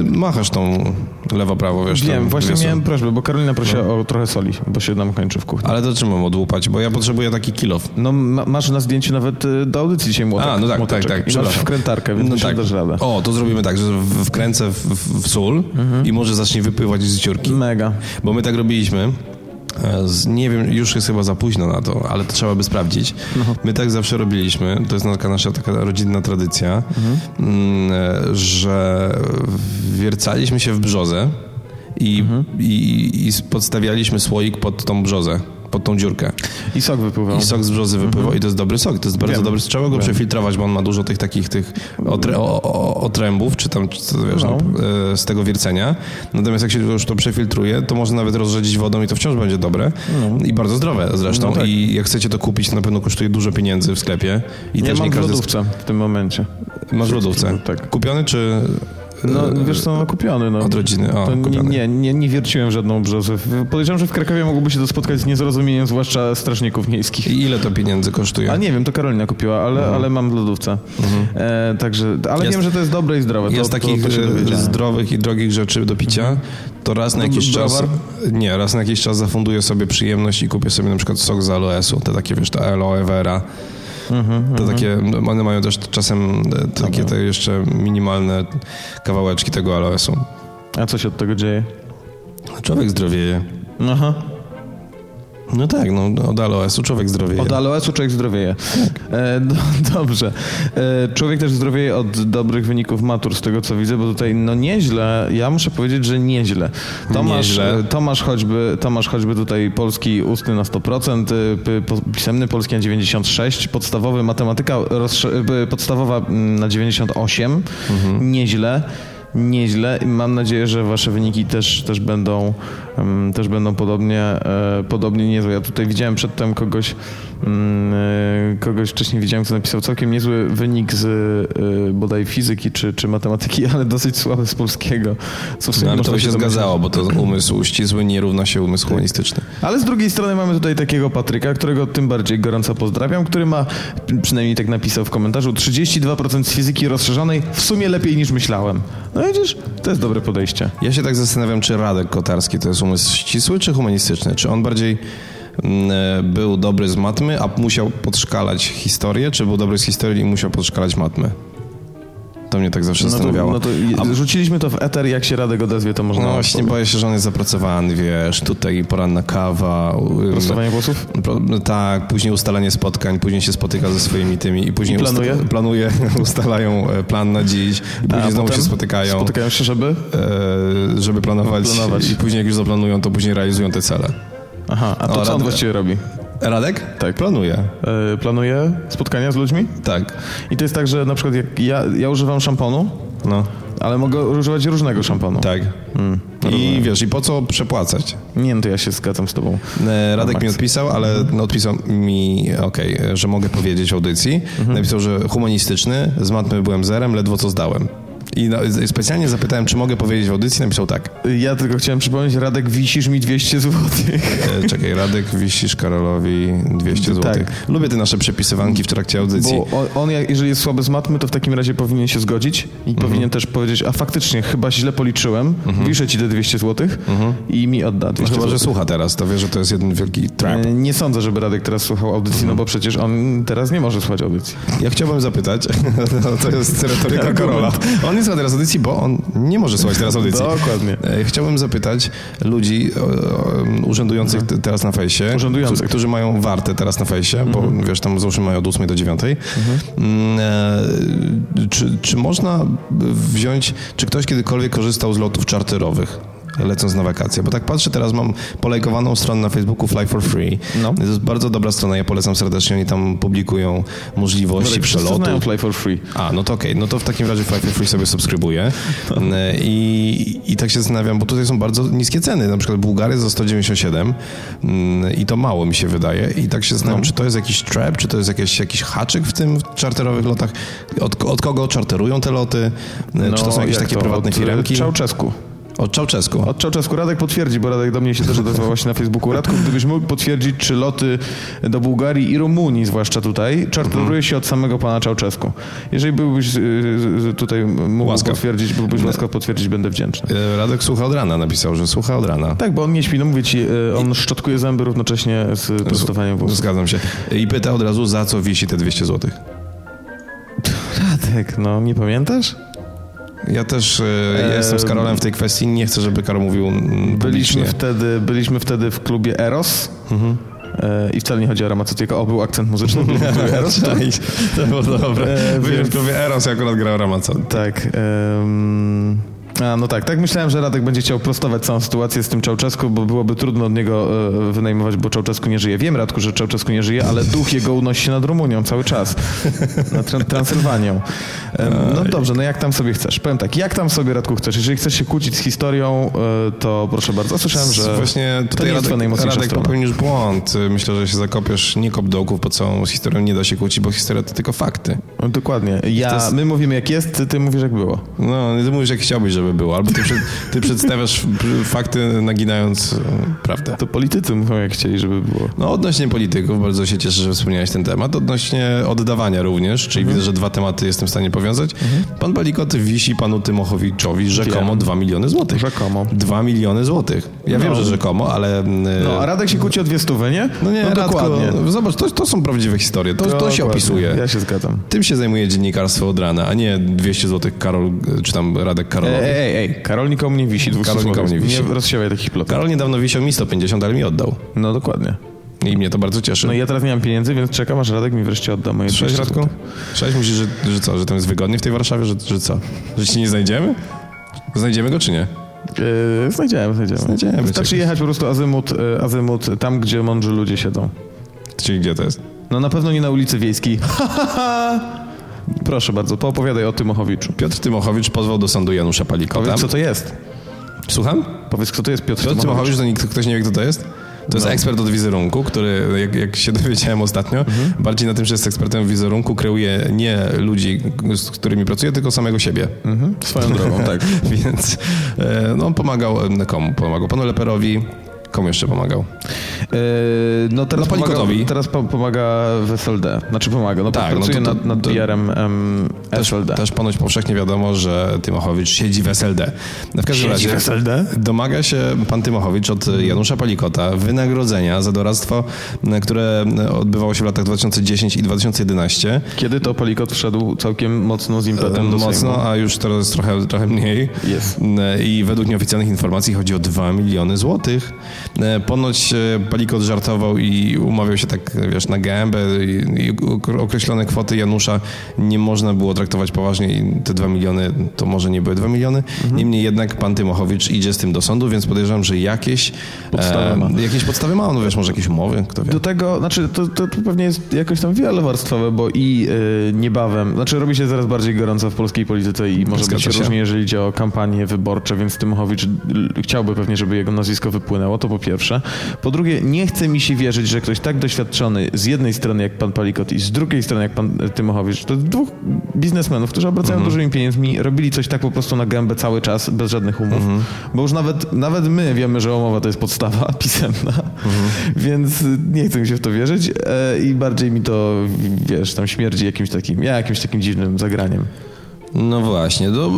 [SPEAKER 3] machasz tą lewo-prawo, wiesz.
[SPEAKER 2] wiem,
[SPEAKER 3] tam No.
[SPEAKER 2] właśnie
[SPEAKER 3] wiosą.
[SPEAKER 2] miałem prośbę, bo Karolina prosiła o trochę soli, bo się nam kończy w kuchni.
[SPEAKER 3] Ale to czym mam odłupać, bo ja potrzebuję taki kilof.
[SPEAKER 2] No ma, masz na zdjęciu nawet y, do audycji dzisiaj młotek.
[SPEAKER 3] A, no tak, tak,
[SPEAKER 2] młoteczek.
[SPEAKER 3] tak,
[SPEAKER 2] I masz
[SPEAKER 3] przepraszam.
[SPEAKER 2] wkrętarkę, więc
[SPEAKER 3] No
[SPEAKER 2] myślę,
[SPEAKER 3] tak.
[SPEAKER 2] że dasz radę.
[SPEAKER 3] O, to zrobimy tak, że w- wkręcę w, w, w sól
[SPEAKER 2] Mhm.
[SPEAKER 3] i może zacznie wypływać z dziurki.
[SPEAKER 2] Mega.
[SPEAKER 3] Bo my tak robiliśmy. e, Z, nie wiem, już jest chyba za późno na to, ale to trzeba by sprawdzić. My tak zawsze robiliśmy, to jest taka nasza taka rodzinna tradycja, mm, e, że wiercaliśmy się w brzozę i, i, i podstawialiśmy słoik pod tą brzozę, pod tą dziurkę.
[SPEAKER 2] I sok wypływał.
[SPEAKER 3] I sok z brzozy wypływał i to jest dobry sok, to jest bardzo
[SPEAKER 2] Mhm. Wiem.
[SPEAKER 3] dobry. Trzeba go przefiltrować, bo on ma dużo tych takich tych otrę, o, o, otrębów, czy tam czy, co, wiesz,
[SPEAKER 2] No.
[SPEAKER 3] no. e, z tego wiercenia. Natomiast jak się już to przefiltruje, to można nawet rozrzedzić wodą i to wciąż będzie dobre. I bardzo zdrowe zresztą.
[SPEAKER 2] No tak.
[SPEAKER 3] I jak chcecie to kupić, to na pewno kosztuje dużo pieniędzy w sklepie. I
[SPEAKER 2] Ja
[SPEAKER 3] też
[SPEAKER 2] mam
[SPEAKER 3] nie
[SPEAKER 2] w
[SPEAKER 3] każdy sklep-
[SPEAKER 2] lodówce w tym momencie.
[SPEAKER 3] Masz w lodówce.
[SPEAKER 2] Tak.
[SPEAKER 3] Kupiony czy...
[SPEAKER 2] No,
[SPEAKER 3] e,
[SPEAKER 2] wiesz co, no kupiony. No.
[SPEAKER 3] Od rodziny, o,
[SPEAKER 2] to nie,
[SPEAKER 3] kupiony.
[SPEAKER 2] nie, nie, nie wierciłem żadną brzozę. Podejrzewam, że w Krakowie mogłoby się to spotkać z niezrozumieniem, zwłaszcza strażników miejskich.
[SPEAKER 3] I ile to pieniędzy kosztuje?
[SPEAKER 2] A nie wiem, to Karolina kupiła, ale, ale mam w lodówce. E, także, ale
[SPEAKER 3] Mhm. Jest-
[SPEAKER 2] wiem, że to jest dobre i zdrowe.
[SPEAKER 3] Jest
[SPEAKER 2] No to,
[SPEAKER 3] takich
[SPEAKER 2] to, to się
[SPEAKER 3] e,
[SPEAKER 2] dowiedziałem. Mhm.
[SPEAKER 3] zdrowych i drogich rzeczy do picia, to raz na jakiś czas.
[SPEAKER 2] browar?
[SPEAKER 3] Nie, raz na jakiś czas zafunduję sobie przyjemność i kupię sobie na przykład sok z aloesu. Te takie wiesz, ta aloe vera.
[SPEAKER 2] Mhm,
[SPEAKER 3] To takie, no, one mają też czasem e, takie te jeszcze minimalne kawałeczki tego aloesu.
[SPEAKER 2] A co się od tego dzieje?
[SPEAKER 3] Człowiek zdrowieje.
[SPEAKER 2] Aha.
[SPEAKER 3] No tak, no od aloesu człowiek zdrowieje.
[SPEAKER 2] Od aloesu człowiek zdrowieje. E, do, dobrze. E, człowiek też zdrowieje od dobrych wyników matur, z tego co widzę, bo tutaj no nieźle, ja muszę powiedzieć, że nieźle. Tomasz,
[SPEAKER 3] Nieźle.
[SPEAKER 2] e, Tomasz, choćby, Tomasz choćby tutaj polski ustny na 100%, y, p- po- pisemny polski na 96, podstawowy matematyka rozsze- y, podstawowa mm, na 98.
[SPEAKER 3] Mhm.
[SPEAKER 2] Nieźle. Nieźle. Mam nadzieję, że wasze wyniki też, też będą mm, też będą podobnie, e, podobnie niezłe. Ja tutaj widziałem przedtem kogoś mm, e, kogoś wcześniej widziałem, kto napisał całkiem niezły wynik z y, bodaj fizyki czy, czy matematyki, ale dosyć słaby z polskiego. Co w sumie
[SPEAKER 3] no, ale
[SPEAKER 2] można
[SPEAKER 3] to by się
[SPEAKER 2] domyślać. Tak.
[SPEAKER 3] zgadzało, bo to umysł ścisły nie równa się umysł humanistyczny.
[SPEAKER 2] Ale z drugiej strony mamy tutaj takiego Patryka, którego tym bardziej gorąco pozdrawiam, który ma, przynajmniej tak napisał w komentarzu, 32% z fizyki rozszerzonej, w sumie lepiej niż myślałem. No widzisz, to jest dobre podejście. No
[SPEAKER 3] Ja się tak zastanawiam, czy Radek Kotarski to jest umysł ścisły czy humanistyczny? Czy on bardziej mm, e, był dobry z matmy, a musiał podszkalać historię, czy był dobry z historii i musiał podszkalać matmy? To mnie tak zawsze
[SPEAKER 2] No to,
[SPEAKER 3] zastanawiało.
[SPEAKER 2] no to
[SPEAKER 3] A-
[SPEAKER 2] rzuciliśmy to w eter, jak się Radek odezwie, to można...
[SPEAKER 3] no właśnie boję się, że on jest zapracowany, wiesz, tutaj poranna kawa. ym,
[SPEAKER 2] Prostowanie głosów?
[SPEAKER 3] Pro, no tak, później ustalanie spotkań, później się spotyka ze swoimi tymi i później
[SPEAKER 2] I planuje?
[SPEAKER 3] usta- planuje ustalają e, plan na dziś, i później
[SPEAKER 2] A
[SPEAKER 3] znowu
[SPEAKER 2] potem
[SPEAKER 3] się spotykają.
[SPEAKER 2] Spotykają się, żeby...
[SPEAKER 3] e, żeby planować,
[SPEAKER 2] Planować.
[SPEAKER 3] i później jak już zaplanują, to później realizują te cele.
[SPEAKER 2] Aha, a to
[SPEAKER 3] O,
[SPEAKER 2] co on
[SPEAKER 3] Radek-
[SPEAKER 2] właściwie robi?
[SPEAKER 3] Radek?
[SPEAKER 2] Tak.
[SPEAKER 3] Planuje.
[SPEAKER 2] Yy, planuje spotkania z ludźmi?
[SPEAKER 3] Tak.
[SPEAKER 2] I to jest tak, że na przykład jak ja, ja używam szamponu,
[SPEAKER 3] No.
[SPEAKER 2] ale mogę używać różnego szamponu.
[SPEAKER 3] Tak. I wiesz, i po co przepłacać?
[SPEAKER 2] Nie, no to ja się zgadzam z tobą.
[SPEAKER 3] E, Radek
[SPEAKER 2] Max.
[SPEAKER 3] mi odpisał, ale no, odpisał mi, okej, e, Mhm. że mogę powiedzieć w audycji. Napisał, że humanistyczny, z matmy byłem zerem, ledwo co zdałem. I no, i specjalnie zapytałem, czy mogę powiedzieć w audycji, napisał tak.
[SPEAKER 2] Ja tylko chciałem przypomnieć, Radek, wisisz mi 200 złotych.
[SPEAKER 3] E, Czekaj, Radek, wisisz Karolowi 200 zł.
[SPEAKER 2] Tak.
[SPEAKER 3] Lubię te nasze przepisywanki w trakcie audycji.
[SPEAKER 2] Bo on, on, jak- jeżeli jest słaby z matmy, to w takim razie powinien się zgodzić i powinien też powiedzieć, a faktycznie, chyba źle policzyłem, wiszę ci te 200 złotych i mi odda 200
[SPEAKER 3] Chyba, że
[SPEAKER 2] złotych.
[SPEAKER 3] słucha teraz, to wie, że to jest jeden wielki trap.
[SPEAKER 2] E, Nie sądzę, żeby Radek teraz słuchał audycji, no bo przecież on teraz nie może słuchać audycji.
[SPEAKER 3] Ja chciałbym zapytać, no, to jest retoryka Karola. On nie słucha teraz audycji, bo on nie może słuchać teraz audycji.
[SPEAKER 2] Dokładnie.
[SPEAKER 3] E, Chciałbym zapytać ludzi o, o, urzędujących te- teraz na fejsie,
[SPEAKER 2] Mhm. Urzędujących. Mhm.
[SPEAKER 3] którzy- którzy mają wartę teraz na fejsie, bo wiesz, tam zawsze mają od 8 do 9. Mm, e, Czy, czy można wziąć, czy ktoś kiedykolwiek korzystał z lotów czarterowych? Lecąc na wakacje, bo tak patrzę, teraz mam polajkowaną stronę na Facebooku Fly for Free.
[SPEAKER 2] No.
[SPEAKER 3] To jest bardzo dobra strona, ja polecam serdecznie. Oni tam publikują możliwości
[SPEAKER 2] Radek, wszyscy
[SPEAKER 3] przelotu.
[SPEAKER 2] znają Play for Free.
[SPEAKER 3] A, no to okej, no to w takim razie Five Free sobie subskrybuję E, I, i tak się zastanawiam, bo tutaj są bardzo niskie ceny, na przykład Bułgary za 197 mm, i to mało mi się wydaje i tak się
[SPEAKER 2] No.
[SPEAKER 3] zastanawiam, czy to jest jakiś trap, czy to jest jakiś, jakiś haczyk w tym w czarterowych lotach, od, od kogo czarterują te loty, E, czy to są
[SPEAKER 2] No,
[SPEAKER 3] jakieś
[SPEAKER 2] jak
[SPEAKER 3] takie prywatne
[SPEAKER 2] od, e,
[SPEAKER 3] firmki?
[SPEAKER 2] Czałczesku.
[SPEAKER 3] Od Czałczesku.
[SPEAKER 2] Od Czałczesku Radek potwierdzi, bo Radek do mnie się też odezwał właśnie na Facebooku. Radku, gdybyś mógł potwierdzić, czy loty do Bułgarii i Rumunii, zwłaszcza tutaj, czarteruje się od samego pana Czałczesku. Jeżeli byłbyś y, y, tutaj mógł
[SPEAKER 3] Łaskaw.
[SPEAKER 2] potwierdzić, byłbyś łaskaw potwierdzić, będę wdzięczny.
[SPEAKER 3] E, Radek słucha od rana, napisał, że słucha od rana.
[SPEAKER 2] Tak, bo on nie śpi, no mówię ci, y, on szczotkuje zęby równocześnie z prostowaniem włosów.
[SPEAKER 3] Zgadzam się. I pyta od razu, za co wisi te 200 złotych.
[SPEAKER 2] Radek, no nie pamiętasz?
[SPEAKER 3] Ja też e, ja
[SPEAKER 2] Em,
[SPEAKER 3] jestem z Karolem w tej kwestii. Nie chcę, żeby Karol mówił mm, publicznie.
[SPEAKER 2] Byliśmy wtedy, byliśmy wtedy w klubie Eros. Y, I wcale nie chodzi o Ramacę, tylko o był akcent muzyczny. Był klub Eros, tak?
[SPEAKER 3] To było dobre.
[SPEAKER 2] E,
[SPEAKER 3] Byliśmy
[SPEAKER 2] więc-
[SPEAKER 3] w klubie Eros, ja akurat grał Ramazan.
[SPEAKER 2] Tak. em, a, no tak, tak myślałem, że Radek będzie chciał prostować całą sytuację z tym Czałczesku, bo byłoby trudno od niego e, wynajmować, bo Czałczesku nie żyje. Wiem, Radku, że Czałczesku nie żyje, ale duch jego unosi się nad Rumunią cały czas, nad Tran- Transylwanią. Em, no dobrze, no jak tam sobie chcesz? Powiem tak, jak tam sobie, Radku, chcesz? Jeżeli chcesz się kłócić z historią, e, to proszę bardzo. Słyszałem, że
[SPEAKER 3] Właśnie
[SPEAKER 2] to nie
[SPEAKER 3] tutaj
[SPEAKER 2] jest twoja
[SPEAKER 3] Radek,
[SPEAKER 2] najmocniejsza
[SPEAKER 3] Radek
[SPEAKER 2] strona.
[SPEAKER 3] popełnisz błąd. E, Myślę, że się zakopiesz. Nie kop dołków pod całą historią. Nie da się kłócić, bo historia to tylko fakty.
[SPEAKER 2] No, Dokładnie. Ja,
[SPEAKER 3] To jest-
[SPEAKER 2] My mówimy jak jest, ty, ty mówisz jak było.
[SPEAKER 3] No, ty mówisz, jak chciałbyś, żeby było. Albo ty, przed, ty przedstawiasz p- fakty, naginając e, prawdę.
[SPEAKER 2] To politycy mówią jak chcieli, żeby było.
[SPEAKER 3] No, odnośnie polityków, bardzo się cieszę, że wspomniałeś ten temat. Odnośnie oddawania również, czyli
[SPEAKER 2] Mhm.
[SPEAKER 3] widzę, że dwa tematy jestem w stanie powiązać. Pan Balikot wisi panu Tymochowiczowi rzekomo
[SPEAKER 2] Wiem.
[SPEAKER 3] 2 miliony złotych.
[SPEAKER 2] Rzekomo.
[SPEAKER 3] 2 miliony złotych. Ja
[SPEAKER 2] No.
[SPEAKER 3] wiem, że rzekomo, ale... e,
[SPEAKER 2] No, a Radek się kłóci o dwie stówy, nie?
[SPEAKER 3] no nie, Radko,
[SPEAKER 2] dokładnie.
[SPEAKER 3] no, zobacz, to, to są prawdziwe historie, to, to się
[SPEAKER 2] Dokładnie.
[SPEAKER 3] opisuje.
[SPEAKER 2] Ja się zgadzam.
[SPEAKER 3] Tym się zajmuje dziennikarstwo od rana, a nie 200 złotych Karol, e, czy tam Radek Karolowi.
[SPEAKER 2] E, Ej, ej, ej, Karol nikomu nie wisi. No. dwustu
[SPEAKER 3] Karol nikomu
[SPEAKER 2] słowach.
[SPEAKER 3] nie wisi.
[SPEAKER 2] Nie rozsiewaj takich plotów.
[SPEAKER 3] Karol niedawno wisiał mi 150, ale mi oddał.
[SPEAKER 2] No dokładnie.
[SPEAKER 3] I mnie to bardzo cieszy.
[SPEAKER 2] No i ja teraz nie mam pieniędzy, więc czekam, aż Radek mi wreszcie odda moje
[SPEAKER 3] Cześć
[SPEAKER 2] 200
[SPEAKER 3] Radku.
[SPEAKER 2] złotych.
[SPEAKER 3] Cześć, tak. myślisz, że, że co, że tam jest wygodnie w tej Warszawie, że, że co? Że ci nie znajdziemy? Znajdziemy go czy nie?
[SPEAKER 2] Yy, znajdziemy, znajdziemy.
[SPEAKER 3] Znajdziemy
[SPEAKER 2] Wystarczy
[SPEAKER 3] czegoś.
[SPEAKER 2] jechać po prostu azymut, yy, azymut tam, gdzie mądrzy ludzie siedzą.
[SPEAKER 3] Czyli gdzie to jest?
[SPEAKER 2] No na pewno nie na ulicy Wiejskiej. Proszę bardzo, poopowiadaj o Tymochowiczu.
[SPEAKER 3] Piotr Tymochowicz pozwał do sądu Janusza Palikota.
[SPEAKER 2] Powiedz, co to jest.
[SPEAKER 3] Słucham?
[SPEAKER 2] Powiedz, kto to jest Piotr, Tymochowicz.
[SPEAKER 3] Piotr Tymochowicz, to nikt, ktoś nie wie, kto to jest? To
[SPEAKER 2] No.
[SPEAKER 3] jest ekspert od wizerunku, który, jak, jak się dowiedziałem ostatnio,
[SPEAKER 2] Mhm.
[SPEAKER 3] bardziej na tym, że jest ekspertem w wizerunku, kreuje nie ludzi, z którymi pracuje, tylko samego siebie.
[SPEAKER 2] Mhm. Swoją drogą, tak.
[SPEAKER 3] Więc e, no, on pomagał, e, komu pomagał? Panu Leperowi, komu jeszcze pomagał?
[SPEAKER 2] Yy, no teraz
[SPEAKER 3] No, Palikotowi.
[SPEAKER 2] pomaga, teraz po, pomaga w SLD. Znaczy pomaga, no
[SPEAKER 3] Tak,
[SPEAKER 2] tak,
[SPEAKER 3] no
[SPEAKER 2] pracuje
[SPEAKER 3] to- to-
[SPEAKER 2] nad, nad
[SPEAKER 3] to-
[SPEAKER 2] PR-em em,
[SPEAKER 3] Też,
[SPEAKER 2] SLD.
[SPEAKER 3] też ponoć powszechnie wiadomo, że Tymochowicz siedzi w SLD. No W
[SPEAKER 2] Siedzi
[SPEAKER 3] każdym razie
[SPEAKER 2] w SLD?
[SPEAKER 3] domaga się pan Tymochowicz od Janusza Palikota wynagrodzenia za doradztwo, n- które odbywało się w latach 2010 i 2011.
[SPEAKER 2] Kiedy to Palikot wszedł całkiem E, mocno z impetem do Sejmu.
[SPEAKER 3] Mocno, a już teraz trochę, trochę mniej.
[SPEAKER 2] Jest.
[SPEAKER 3] N- I według nieoficjalnych informacji chodzi o 2 miliony złotych. E, Ponoć e, Palikot żartował i umawiał się tak, wiesz, na gębę i, i ok- określone kwoty Janusza nie można było traktować poważnie i te 2 miliony to może nie były 2 miliony.
[SPEAKER 2] Mhm.
[SPEAKER 3] Niemniej jednak pan Tymochowicz idzie z tym do sądu, więc podejrzewam, że jakieś e,
[SPEAKER 2] Podstawy ma.
[SPEAKER 3] jakieś podstawy ma. No wiesz, może jakieś umowy, kto wie.
[SPEAKER 2] Do tego, znaczy to, to pewnie jest jakoś tam wielowarstwowe, bo i y, niebawem, znaczy robi się coraz bardziej gorąco w polskiej polityce i może
[SPEAKER 3] Zgadza
[SPEAKER 2] być
[SPEAKER 3] się.
[SPEAKER 2] różnie, jeżeli idzie o kampanie wyborcze, więc Tymochowicz l- chciałby pewnie, żeby jego nazwisko wypłynęło, to to po pierwsze. Po drugie, nie chce mi się wierzyć, że ktoś tak doświadczony z jednej strony jak pan Palikot i z drugiej strony jak pan Tymochowicz, to dwóch biznesmenów, którzy obracają
[SPEAKER 3] Mhm.
[SPEAKER 2] dużymi pieniędzmi, robili coś tak po prostu na gębę cały czas, bez żadnych umów.
[SPEAKER 3] Mhm.
[SPEAKER 2] Bo już nawet, nawet my wiemy, że umowa to jest podstawa pisemna,
[SPEAKER 3] Mhm.
[SPEAKER 2] więc e, nie chcę mi się w to wierzyć e, i bardziej mi to, wiesz, tam śmierdzi jakimś takim, ja jakimś takim dziwnym zagraniem.
[SPEAKER 3] No właśnie, to,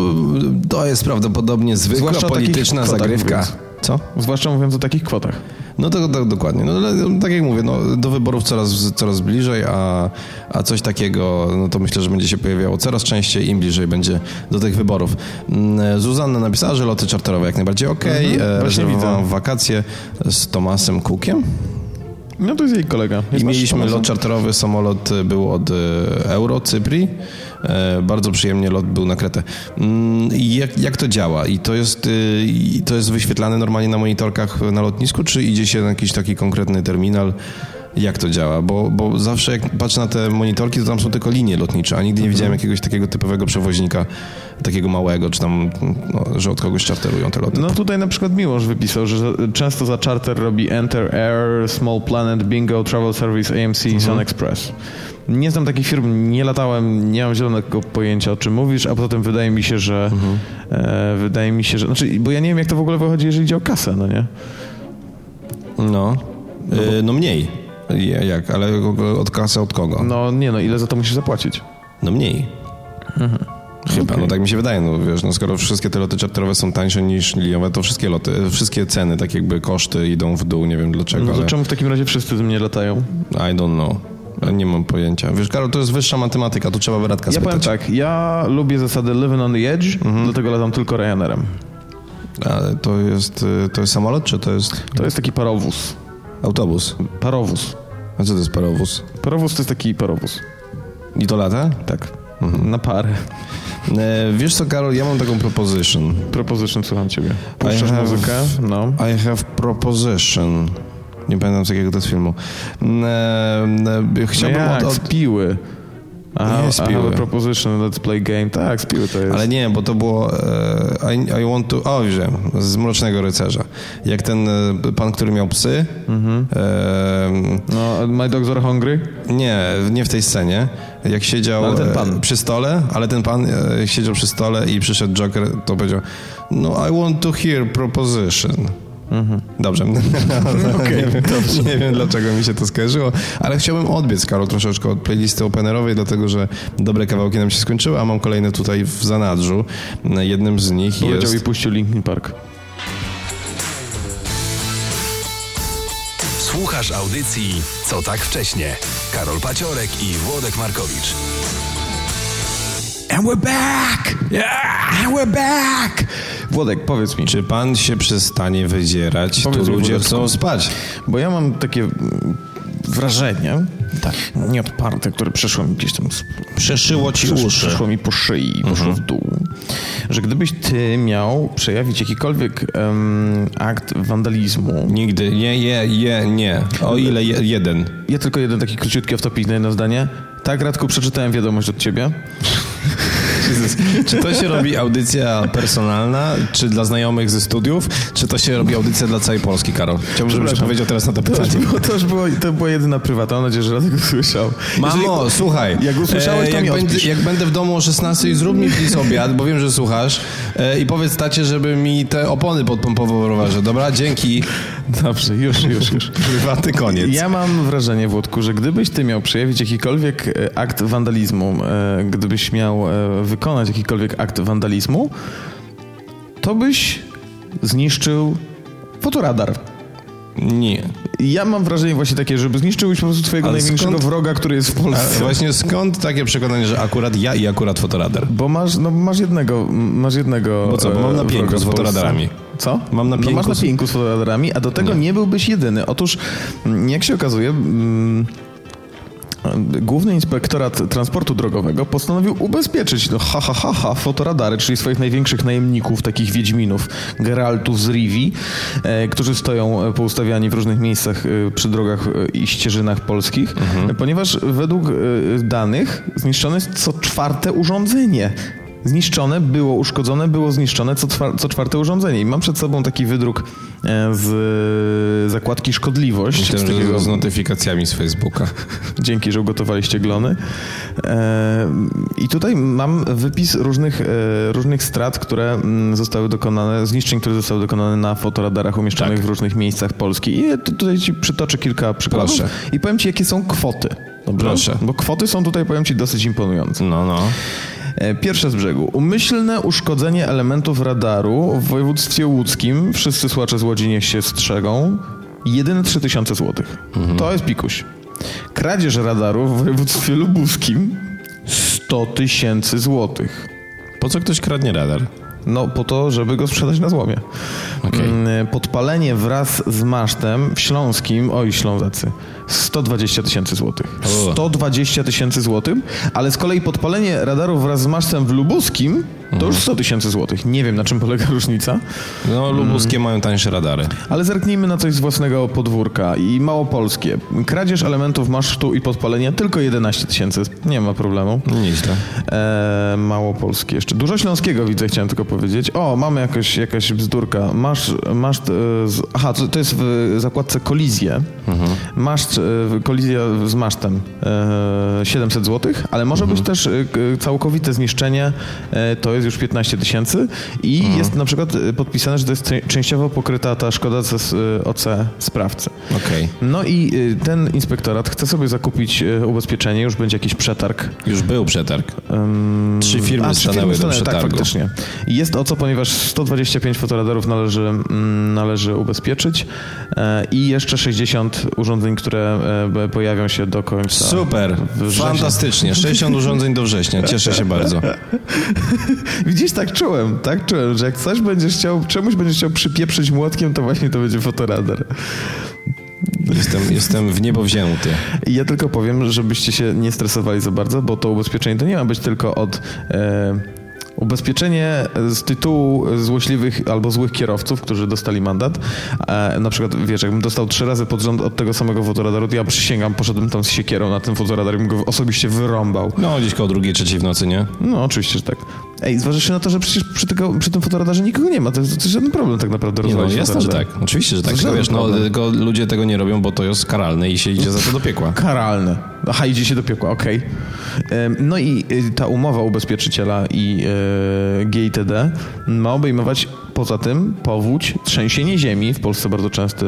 [SPEAKER 3] to jest prawdopodobnie zwykła
[SPEAKER 2] Zwłaszcza o takich
[SPEAKER 3] polityczna
[SPEAKER 2] kwotach
[SPEAKER 3] zagrywka.
[SPEAKER 2] mówiąc.
[SPEAKER 3] Co?
[SPEAKER 2] Zwłaszcza mówiąc o takich kwotach.
[SPEAKER 3] No to, to dokładnie. No, ale tak jak mówię, no, do wyborów coraz, coraz bliżej, a, a coś takiego, no to myślę, że będzie się pojawiało coraz częściej, im bliżej będzie do tych wyborów. Mm, Zuzanna napisała, że loty czarterowe jak najbardziej okej.
[SPEAKER 2] Mhm,
[SPEAKER 3] Mhm,
[SPEAKER 2] właśnie
[SPEAKER 3] Rezerwowałam wakacje z Tomasem Kukiem.
[SPEAKER 2] No to jest jej kolega. Jest
[SPEAKER 3] I
[SPEAKER 2] nasz
[SPEAKER 3] mieliśmy
[SPEAKER 2] pomysł.
[SPEAKER 3] lot czarterowy, samolot y, był od y, Euro, Cyprii. E, Bardzo przyjemnie lot był na Kretę. Mm, i Jak, jak to działa? I to, jest, y, I to jest wyświetlane normalnie na monitorkach na lotnisku, czy idzie się na jakiś taki konkretny terminal? Jak to działa? Bo, bo zawsze jak patrzę na te monitorki, to tam są tylko linie lotnicze, a nigdy nie widziałem jakiegoś takiego typowego przewoźnika, takiego małego, czy tam, no, że od kogoś czarterują te loty.
[SPEAKER 2] No tutaj na przykład Miłosz wypisał, że za- często za charter robi Enter Air, Small Planet, Bingo, Travel Service, AMC
[SPEAKER 3] Mhm.
[SPEAKER 2] i Sun Express. Nie znam takich firm, nie latałem, nie mam zielonego pojęcia o czym mówisz, a poza tym wydaje mi się, że
[SPEAKER 3] Mhm.
[SPEAKER 2] e, wydaje mi się, że znaczy, bo ja nie wiem jak to w ogóle wychodzi, jeżeli chodzi o kasę, no nie?
[SPEAKER 3] No, E, no mniej. Je- Jak? Ale od kasy od kogo?
[SPEAKER 2] No nie no, ile za to musisz zapłacić?
[SPEAKER 3] No mniej.
[SPEAKER 2] Mhm.
[SPEAKER 3] Chyba, no tak mi się wydaje, no wiesz, no skoro wszystkie te loty czarterowe są tańsze niż liniowe, to wszystkie loty, wszystkie ceny, tak jakby koszty idą w dół, nie wiem dlaczego,
[SPEAKER 2] No to
[SPEAKER 3] ale
[SPEAKER 2] czemu w takim razie wszyscy z mnie latają?
[SPEAKER 3] I don't know. Nie mam pojęcia. Wiesz, Karol, to jest wyższa matematyka, tu trzeba Beretka
[SPEAKER 2] Ja powiem
[SPEAKER 3] spytać.
[SPEAKER 2] tak, ja lubię zasadę living on the edge,
[SPEAKER 3] Mhm.
[SPEAKER 2] dlatego latam tylko Ryanerem. tak.
[SPEAKER 3] Ale to jest, y, to jest samolot, czy to jest
[SPEAKER 2] To jest taki parowóz.
[SPEAKER 3] autobus?
[SPEAKER 2] Parowóz.
[SPEAKER 3] A co to jest parowóz?
[SPEAKER 2] Parowóz to jest taki parowóz.
[SPEAKER 3] I to lata?
[SPEAKER 2] Tak. Na parę.
[SPEAKER 3] E, wiesz co, Karol, ja mam taką proposition.
[SPEAKER 2] Proposition słucham ciebie. Puszczasz
[SPEAKER 3] have-
[SPEAKER 2] muzykę? No.
[SPEAKER 3] I have proposition. Nie pamiętam z jakiego to jest filmu. E, e, chciałbym
[SPEAKER 2] no
[SPEAKER 3] od,
[SPEAKER 2] jak,
[SPEAKER 3] od,
[SPEAKER 2] z piły. Aha,
[SPEAKER 3] Nie, z
[SPEAKER 2] I have
[SPEAKER 3] piły.
[SPEAKER 2] a proposition, let's play game. Tak, z piły to jest.
[SPEAKER 3] Ale nie, bo to było e, I, I want to... O, już wiem, z Mrocznego Rycerza. Jak ten e, pan, który miał psy. E,
[SPEAKER 2] No, my dogs are hungry?
[SPEAKER 3] nie, nie w tej scenie. Jak siedział
[SPEAKER 2] No, ale ten
[SPEAKER 3] e,
[SPEAKER 2] pan.
[SPEAKER 3] przy stole, ale ten pan e, siedział przy stole i przyszedł Joker, to powiedział no I want to hear proposition.
[SPEAKER 2] Mhm.
[SPEAKER 3] Dobrze. nie, wiem, nie wiem, dlaczego mi się to skojarzyło, ale chciałbym odbiec, Karol, troszeczkę od playlisty openerowej, dlatego że dobre kawałki nam się skończyły, a mam kolejne tutaj w zanadrzu. Jednym z nich
[SPEAKER 2] Powiedział
[SPEAKER 3] jest...
[SPEAKER 2] i puścił Linkin Park.
[SPEAKER 1] Słuchasz audycji Co tak wcześnie. Karol Paciorek i Włodek Markowicz.
[SPEAKER 3] And we're back! Yeah! And we're back!
[SPEAKER 2] Włodek, powiedz mi,
[SPEAKER 3] Czy pan się przestanie wydzierać?
[SPEAKER 2] Powiedz
[SPEAKER 3] tu
[SPEAKER 2] mi,
[SPEAKER 3] ludzie
[SPEAKER 2] Włodeczku.
[SPEAKER 3] chcą spać.
[SPEAKER 2] bo ja mam takie mm, wrażenie, tak. nieodparte, które przeszło mi gdzieś tam z
[SPEAKER 3] Przeszyło ci
[SPEAKER 2] Przesz-
[SPEAKER 3] uszy. Mhm.
[SPEAKER 2] Przeszło mi po szyi, poszło w dół. Że gdybyś ty miał przejawić jakikolwiek em, akt wandalizmu,
[SPEAKER 3] Nigdy. Nie, je, je, nie. O ile je, jeden.
[SPEAKER 2] ja tylko jeden taki króciutki wtopić na jedno zdanie. Tak, Radku, przeczytałem wiadomość od ciebie.
[SPEAKER 3] Czy to się robi audycja personalna, czy dla znajomych ze studiów, czy to się robi audycja dla całej Polski, Karol? Chciałbym, żebyś
[SPEAKER 2] Przepraszam.
[SPEAKER 3] odpowiedział teraz na to pytanie.
[SPEAKER 2] było, to już było, to była jedyna prywatna, mam nadzieję, że Radek usłyszał.
[SPEAKER 3] Mamo, słuchaj.
[SPEAKER 2] jak usłyszałeś, to
[SPEAKER 3] E, jak,
[SPEAKER 2] mi odpisz.
[SPEAKER 3] będę, jak będę w domu o 16, zrób mi please obiad, bo wiem, że słuchasz. E, I powiedz tacie, żeby mi te opony podpompował w rowerze. Dobra, dzięki.
[SPEAKER 2] Jeżeli... Dobrze, już, już, już.
[SPEAKER 3] Prywatny koniec.
[SPEAKER 2] Ja mam wrażenie, Włodku, że gdybyś ty miał przejawić jakikolwiek e, akt wandalizmu, e, gdybyś miał e, wykonać jakikolwiek akt wandalizmu, to byś zniszczył fotoradar.
[SPEAKER 3] Nie.
[SPEAKER 2] Ja mam wrażenie właśnie takie, żeby zniszczyłbyś po prostu twojego
[SPEAKER 3] Ale
[SPEAKER 2] największego
[SPEAKER 3] skąd-
[SPEAKER 2] wroga, który jest w
[SPEAKER 3] A
[SPEAKER 2] Polsce.
[SPEAKER 3] właśnie skąd takie przekonanie, że akurat ja i akurat fotoradar?
[SPEAKER 2] Bo masz, no, masz jednego, masz jednego.
[SPEAKER 3] Bo co, bo
[SPEAKER 2] e,
[SPEAKER 3] mam na pięku
[SPEAKER 2] wroga
[SPEAKER 3] z
[SPEAKER 2] w Polsce.
[SPEAKER 3] fotoradarami.
[SPEAKER 2] Co?
[SPEAKER 3] Mam na
[SPEAKER 2] No
[SPEAKER 3] pięku
[SPEAKER 2] masz na
[SPEAKER 3] z-
[SPEAKER 2] pięku z fotoradarami, a do tego nie, byłbyś jedyny. Otóż, m, jak się okazuje, mm, Główny Inspektorat Transportu Drogowego postanowił ubezpieczyć, no ha, ha, ha, ha, fotoradary, czyli swoich największych najemników, takich Wiedźminów, Geraltów z Rivi, e, którzy stoją e, poustawiani w różnych miejscach e, przy drogach e, i ścieżynach polskich,
[SPEAKER 3] Mhm.
[SPEAKER 2] ponieważ według e, danych zniszczone jest co czwarte urządzenie zniszczone, było uszkodzone, było zniszczone co, czwa- co czwarte urządzenie. I mam przed sobą taki wydruk e, z e, zakładki szkodliwość.
[SPEAKER 3] Myślałem,
[SPEAKER 2] z
[SPEAKER 3] że
[SPEAKER 2] takiego-
[SPEAKER 3] z notyfikacjami z Facebooka.
[SPEAKER 2] Dzięki, że ugotowaliście glony. E, I tutaj mam wypis różnych, e, różnych strat, które mm, zostały dokonane, zniszczeń, które zostały dokonane na fotoradarach umieszczonych
[SPEAKER 3] Tak.
[SPEAKER 2] w różnych miejscach Polski. I tu- tutaj ci przytoczę kilka przykładów
[SPEAKER 3] Proszę.
[SPEAKER 2] i powiem ci, jakie są kwoty. Dobrze?
[SPEAKER 3] Proszę.
[SPEAKER 2] Bo kwoty są tutaj, powiem ci, dosyć imponujące.
[SPEAKER 3] No, no.
[SPEAKER 2] E, Pierwsze z brzegu. Umyślne uszkodzenie elementów radaru w województwie łódzkim. Wszyscy słuchacze z Łodzi niech się strzegą. Jedyne 3000 zł. To jest pikuś. Kradzież radaru w województwie lubuskim 100 tysięcy złotych.
[SPEAKER 3] Po co ktoś kradnie radar?
[SPEAKER 2] No, po to, żeby go sprzedać na złomie.
[SPEAKER 3] Okej.
[SPEAKER 2] Mm, Podpalenie wraz z masztem w Śląskim, oj Ślązacy, 120 tysięcy złotych.
[SPEAKER 3] O.
[SPEAKER 2] 120 tysięcy złotych, ale z kolei podpalenie radaru wraz z masztem w Lubuskim to
[SPEAKER 3] Mhm.
[SPEAKER 2] już 100 tysięcy złotych. Nie wiem, na czym polega różnica,
[SPEAKER 3] No, lubuskie
[SPEAKER 2] Mm.
[SPEAKER 3] mają tańsze radary.
[SPEAKER 2] ale zerknijmy na coś z własnego podwórka i małopolskie. Kradzież elementów masztu i podpalenia tylko 11 tysięcy, nie ma problemu.
[SPEAKER 3] No, Nieźle.
[SPEAKER 2] E, Małopolski jeszcze. Dużo śląskiego widzę, chciałem tylko powiedzieć. O, mamy jakoś, jakaś bzdurka. Masz, masz e, z, aha, to, to jest w zakładce kolizję. Masz e, kolizję z masztem e, 700 zł, ale może być też e, k- całkowite zniszczenie, e, to jest już 15 tysięcy i jest na przykład e, podpisane, że to jest czę- częściowo pokryta ta szkoda ze s- OC sprawcy.
[SPEAKER 3] Okej.
[SPEAKER 2] No i e, ten inspektorat chce sobie zakupić e, ubezpieczenie, już będzie jakiś przetarg
[SPEAKER 3] Już był przetarg. trzy firmy
[SPEAKER 2] a, trzy
[SPEAKER 3] stanęły
[SPEAKER 2] firmy stanęły,
[SPEAKER 3] do
[SPEAKER 2] Tak,
[SPEAKER 3] przetargu.
[SPEAKER 2] faktycznie. Jest o co, ponieważ 125 fotoradarów należy, mm, należy ubezpieczyć e, i jeszcze 60 urządzeń, które e, b- pojawią się do końca.
[SPEAKER 3] Super,
[SPEAKER 2] września.
[SPEAKER 3] fantastycznie. 60 urządzeń do września, cieszę się bardzo.
[SPEAKER 2] Widzisz, tak czułem, tak czułem, że jak coś będziesz chciał, czemuś będziesz chciał przypieprzyć młotkiem, to właśnie to będzie fotoradar.
[SPEAKER 3] Jestem, jestem w niebo wzięty.
[SPEAKER 2] I ja tylko powiem, żebyście się nie stresowali za bardzo, bo to ubezpieczenie to nie ma być tylko od. E, Ubezpieczenie z tytułu złośliwych albo złych kierowców, którzy dostali mandat. E, na przykład, wiesz, jakbym dostał trzy razy pod rząd od tego samego fotoradaru, to ja przysięgam, poszedłbym tam z siekierą na ten fotoradar i bym go osobiście wyrąbał.
[SPEAKER 3] No, gdzieś koło drugiej, trzeciej w nocy, nie?
[SPEAKER 2] No, oczywiście, że tak. Ej, zważywszy na to, że przecież przy, tego, przy tym fotoradarze nikogo nie ma, to, to, to żaden problem tak naprawdę
[SPEAKER 3] Nie, no,
[SPEAKER 2] rozwalić
[SPEAKER 3] jasne, że tak.
[SPEAKER 2] fotoradar.
[SPEAKER 3] Oczywiście, że tak. Tylko
[SPEAKER 2] Żaden
[SPEAKER 3] wiesz, no,
[SPEAKER 2] problem.
[SPEAKER 3] tylko ludzie tego nie robią, bo to jest karalne i się idzie za to do piekła.
[SPEAKER 2] Karalne. Aha, idzie się do piekła, okej. Em, No i y, ta umowa ubezpieczyciela i y, GITD ma obejmować poza tym powódź, trzęsienie ziemi, w Polsce bardzo częste...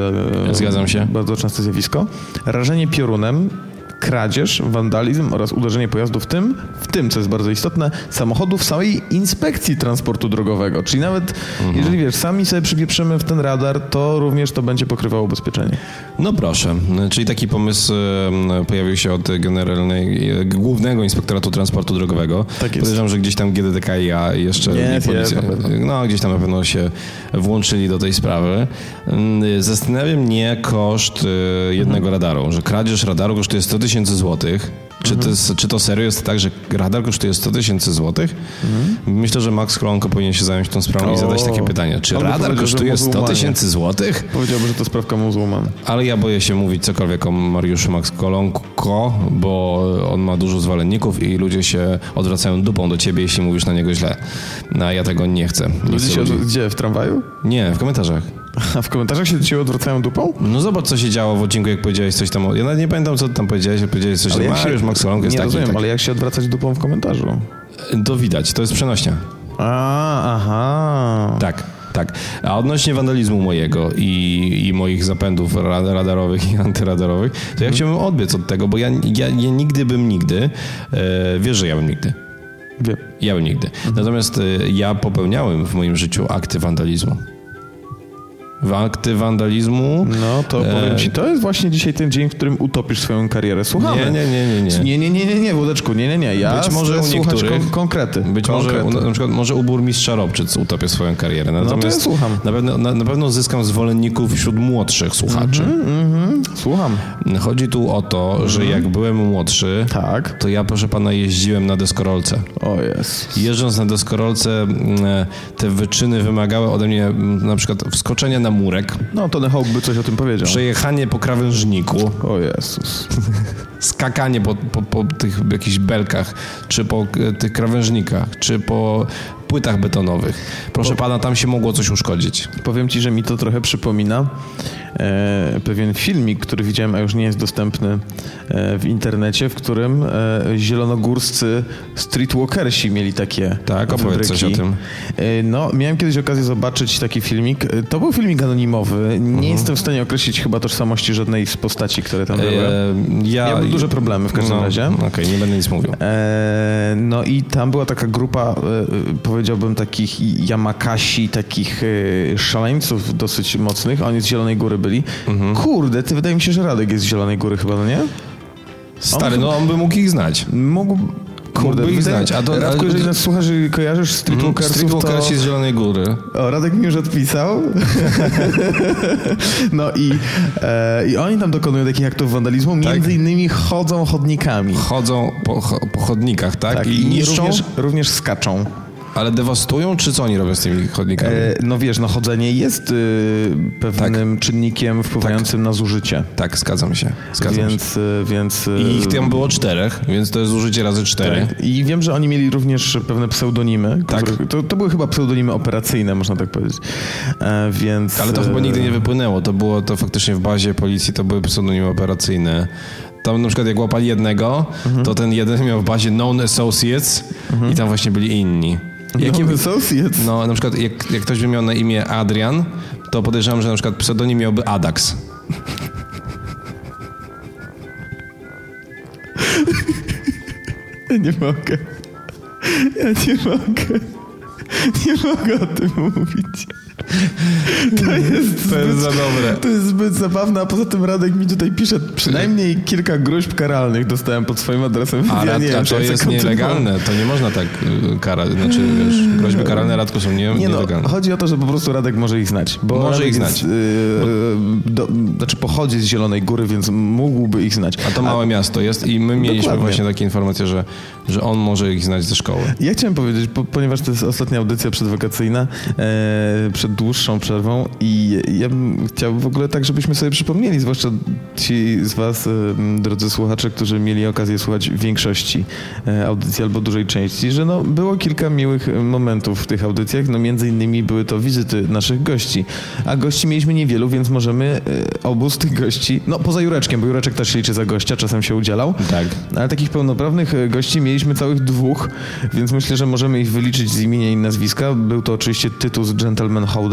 [SPEAKER 2] e,
[SPEAKER 3] Zgadzam się.
[SPEAKER 2] Bardzo częste zjawisko, rażenie piorunem, kradzież, wandalizm oraz uderzenie pojazdu, w tym, w tym, co jest bardzo istotne, samochodów samej inspekcji transportu drogowego. Czyli nawet
[SPEAKER 3] Mhm.
[SPEAKER 2] jeżeli wiesz, sami sobie przypieprzymy w ten radar, to również to będzie pokrywało ubezpieczenie.
[SPEAKER 3] No proszę, czyli taki pomysł em, pojawił się od generalnej, e, głównego inspektoratu transportu drogowego.
[SPEAKER 2] Tak jest.
[SPEAKER 3] Podejrzewam, że gdzieś tam GDDKiA jeszcze
[SPEAKER 2] Jest,
[SPEAKER 3] nie
[SPEAKER 2] jest,
[SPEAKER 3] policja,
[SPEAKER 2] na pewno.
[SPEAKER 3] no gdzieś tam na pewno się włączyli do tej sprawy. Mm, Zastanawia mnie koszt e, jednego
[SPEAKER 2] Mhm.
[SPEAKER 3] radaru, że kradzież radaru kosztuje 100 tysięcy złotych. Czy,
[SPEAKER 2] Mhm.
[SPEAKER 3] to jest, czy to serio jest tak, że radar kosztuje 100 tysięcy złotych? Myślę, że Max Klonko powinien się zająć tą sprawą
[SPEAKER 2] Mhm. O.
[SPEAKER 3] i zadać takie pytanie. Czy
[SPEAKER 2] On by
[SPEAKER 3] radar
[SPEAKER 2] powiedział, że
[SPEAKER 3] kosztuje 100
[SPEAKER 2] muzułmanie.
[SPEAKER 3] tysięcy złotych?
[SPEAKER 2] Powiedziałby, że to sprawka muzułman.
[SPEAKER 3] Ale ja boję się mówić cokolwiek o Mariuszu Max Kolonko, bo on ma dużo zwolenników i ludzie się odwracają dupą do ciebie, jeśli mówisz na niego źle. No, a ja tego nie chcę. Nie,
[SPEAKER 2] Ludzie
[SPEAKER 3] chcę
[SPEAKER 2] się
[SPEAKER 3] ludzi-
[SPEAKER 2] od... Gdzie? W tramwaju?
[SPEAKER 3] nie, w komentarzach.
[SPEAKER 2] A w komentarzach się do ciebie odwracają dupą?
[SPEAKER 3] No zobacz, co się działo w odcinku, jak powiedziałeś coś tam. o- Ja nawet nie pamiętam, co ty tam powiedziałeś, ale powiedziałeś coś, że
[SPEAKER 2] jak się-
[SPEAKER 3] Mariusz Max Kolonko jest
[SPEAKER 2] Nie
[SPEAKER 3] taki.
[SPEAKER 2] rozumiem,
[SPEAKER 3] taki.
[SPEAKER 2] ale jak się odwracać dupą w komentarzu?
[SPEAKER 3] To widać, to jest przenośnia.
[SPEAKER 2] A, aha.
[SPEAKER 3] Tak, tak. A odnośnie wandalizmu mojego i, i moich zapędów ra- radarowych i antyradarowych, to ja
[SPEAKER 2] Mhm.
[SPEAKER 3] chciałbym odbiec od tego, bo ja, ja, ja nigdy bym nigdy, e, wiesz, że ja bym nigdy.
[SPEAKER 2] Wiem.
[SPEAKER 3] Ja bym nigdy.
[SPEAKER 2] Mhm.
[SPEAKER 3] Natomiast y, ja popełniałem w moim życiu akty wandalizmu. W akty wandalizmu.
[SPEAKER 2] No to powiem
[SPEAKER 3] E,
[SPEAKER 2] ci, to jest właśnie dzisiaj ten dzień, w którym utopisz swoją karierę. Słuchamy.
[SPEAKER 3] Nie, nie, nie, nie, nie.
[SPEAKER 2] Nie, nie, nie, nie, nie Włodeczku, nie, nie, nie. Ja
[SPEAKER 3] Być może
[SPEAKER 2] chcę
[SPEAKER 3] u
[SPEAKER 2] słuchać
[SPEAKER 3] niektórych-
[SPEAKER 2] kon- konkrety.
[SPEAKER 3] Być może
[SPEAKER 2] konkrety.
[SPEAKER 3] u, na przykład może u burmistrza Robczyc utopię swoją karierę. Natomiast
[SPEAKER 2] No to ja słucham.
[SPEAKER 3] Na pewno, na, na pewno zyskam zwolenników wśród młodszych słuchaczy.
[SPEAKER 2] Mhm. Słucham.
[SPEAKER 3] Chodzi tu o to, że
[SPEAKER 2] Mhm.
[SPEAKER 3] jak byłem młodszy,
[SPEAKER 2] Tak.
[SPEAKER 3] to ja proszę pana jeździłem na deskorolce.
[SPEAKER 2] O jest.
[SPEAKER 3] Jeżdżąc na deskorolce, mm, te wyczyny wymagały ode mnie mm, na przykład wskoczenia na Murek,
[SPEAKER 2] No, Tony Hawk by coś o tym powiedział.
[SPEAKER 3] przejechanie po krawężniku,
[SPEAKER 2] O Jezus.
[SPEAKER 3] skakanie po, po, po tych jakichś belkach, czy po e, tych krawężnikach, czy po płytach betonowych. Proszę pana, tam się mogło coś uszkodzić.
[SPEAKER 2] Powiem ci, że mi to trochę przypomina e, pewien filmik, który widziałem, a już nie jest dostępny e, w internecie, w którym e, zielonogórscy streetwalkersi mieli takie
[SPEAKER 3] Tak, opowiedz
[SPEAKER 2] wybryki.
[SPEAKER 3] coś o tym.
[SPEAKER 2] E, No, miałem kiedyś okazję zobaczyć taki filmik. E, To był filmik anonimowy. Nie jestem w stanie określić chyba tożsamości żadnej z postaci, które tam były.
[SPEAKER 3] Mhm. E, ja,
[SPEAKER 2] Miałbym duże problemy w każdym
[SPEAKER 3] no,
[SPEAKER 2] razie.
[SPEAKER 3] Okej, nie będę nic mówił.
[SPEAKER 2] E, No i tam była taka grupa, e, e, powiedziałbym, takich Yamakasi, takich e, szaleńców dosyć mocnych. Oni z Zielonej Góry byli.
[SPEAKER 3] Mhm.
[SPEAKER 2] Kurde, ty wydaje mi się, że Radek jest z Zielonej Góry chyba, no nie?
[SPEAKER 3] Stary,
[SPEAKER 2] on-
[SPEAKER 3] no on by mógł ich znać.
[SPEAKER 2] Mógł... Kurde,
[SPEAKER 3] Mógłby ich
[SPEAKER 2] wydaje-
[SPEAKER 3] znać, a to-
[SPEAKER 2] Radku,
[SPEAKER 3] a-
[SPEAKER 2] jeżeli nas słuchasz i kojarzysz streetwalkersów, to...
[SPEAKER 3] Streetwalkersi z Zielonej Góry.
[SPEAKER 2] O, Radek mi już odpisał. no i, e, i oni tam dokonują takich aktów wandalizmu.
[SPEAKER 3] Tak.
[SPEAKER 2] Między innymi chodzą chodnikami.
[SPEAKER 3] Chodzą po, cho- po chodnikach, tak?
[SPEAKER 2] Tak,
[SPEAKER 3] I niszczą,
[SPEAKER 2] również, również skaczą.
[SPEAKER 3] ale dewastują, czy co oni robią z tymi chodnikami?
[SPEAKER 2] E, No wiesz, no chodzenie jest y, pewnym czynnikiem wpływającym na zużycie.
[SPEAKER 3] tak, zgadzam się. Zgadzam się.
[SPEAKER 2] Więc, y, więc. y,
[SPEAKER 3] I ich tam było czterech, więc to jest zużycie razy cztery.
[SPEAKER 2] tak. I wiem, że oni mieli również pewne pseudonimy.
[SPEAKER 3] Tak.
[SPEAKER 2] których- To, to były chyba pseudonimy operacyjne, można tak powiedzieć. E, więc.
[SPEAKER 3] Ale to
[SPEAKER 2] e,
[SPEAKER 3] chyba nigdy nie wypłynęło. To było to faktycznie w bazie policji, to były pseudonimy operacyjne. Tam na przykład jak łapali jednego, to ten jeden miał w bazie known associates i tam właśnie byli inni. Jakie,
[SPEAKER 2] No, associates.
[SPEAKER 3] no na przykład jak, jak ktoś by miał na imię Adrian, to podejrzewam, że na przykład pseudonim miałby Adax.
[SPEAKER 2] Ja nie mogę. Ja nie mogę. Nie mogę o tym mówić. To jest,
[SPEAKER 3] To jest
[SPEAKER 2] zbyt,
[SPEAKER 3] za dobre.
[SPEAKER 2] to jest zbyt zabawne, a poza tym Radek mi tutaj pisze przynajmniej kilka groźb karalnych dostałem pod swoim adresem.
[SPEAKER 3] A,
[SPEAKER 2] ja
[SPEAKER 3] rad,
[SPEAKER 2] nie wiem,
[SPEAKER 3] a
[SPEAKER 2] czy
[SPEAKER 3] to
[SPEAKER 2] ja chcę
[SPEAKER 3] jest
[SPEAKER 2] kontynuować. Mm.
[SPEAKER 3] nielegalne, to nie można tak y, karać, znaczy wiesz, groźby karalne Radku są nie,
[SPEAKER 2] Nie no,
[SPEAKER 3] nielegalne.
[SPEAKER 2] chodzi o to, że po prostu Radek może ich znać. Bo
[SPEAKER 3] Może
[SPEAKER 2] Radek
[SPEAKER 3] ich
[SPEAKER 2] jest,
[SPEAKER 3] znać.
[SPEAKER 2] Yy, do, znaczy pochodzi z Zielonej Góry, więc mógłby ich znać.
[SPEAKER 3] A to małe miasto jest i my mieliśmy
[SPEAKER 2] Dokładnie.
[SPEAKER 3] właśnie takie informacje, że, że on może ich znać ze szkoły.
[SPEAKER 2] Ja chciałem powiedzieć, po, ponieważ to jest ostatnia audycja przedwakacyjna, e, przed dłuższą przerwą i ja bym chciał w ogóle tak, żebyśmy sobie przypomnieli, zwłaszcza ci z was, e, m, drodzy słuchacze, którzy mieli okazję słuchać większości e, audycji albo dużej części, że no, było kilka miłych e, momentów w tych audycjach, no między innymi były to wizyty naszych gości, a gości mieliśmy niewielu, więc możemy e, obu z tych gości, no poza Jureczkiem, bo Jureczek też się liczy za gościa, czasem się udzielał,
[SPEAKER 3] Tak.
[SPEAKER 2] No, ale takich pełnoprawnych e, gości mieliśmy całych dwóch, więc myślę, że możemy ich wyliczyć z imienia i nazwiska. Był to oczywiście Tytus Gentleman Holdys,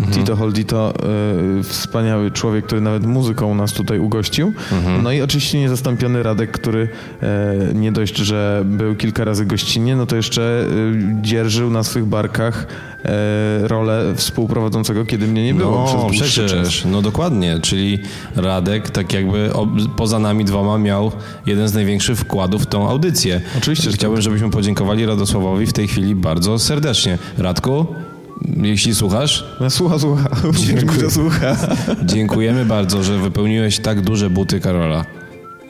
[SPEAKER 3] Mhm.
[SPEAKER 2] Tito Holdito, e, wspaniały człowiek, który nawet muzyką nas tutaj ugościł.
[SPEAKER 3] Mhm.
[SPEAKER 2] No i oczywiście niezastąpiony Radek, który e, nie dość, że był kilka razy gościnnie, no to jeszcze e, dzierżył na swych barkach e, rolę współprowadzącego, kiedy mnie nie było. przez
[SPEAKER 3] No
[SPEAKER 2] dłuższy czas.
[SPEAKER 3] przecież, no dokładnie, czyli Radek tak jakby ob, poza nami dwoma miał jeden z największych wkładów w tą audycję.
[SPEAKER 2] Oczywiście, że tak.
[SPEAKER 3] Chciałbym, żebyśmy podziękowali Radosławowi w tej chwili bardzo serdecznie. Radku, jeśli słuchasz,
[SPEAKER 2] No, Słucha, słucha. Dziękuję. słucha.
[SPEAKER 3] dziękujemy bardzo, że wypełniłeś tak duże buty Karola.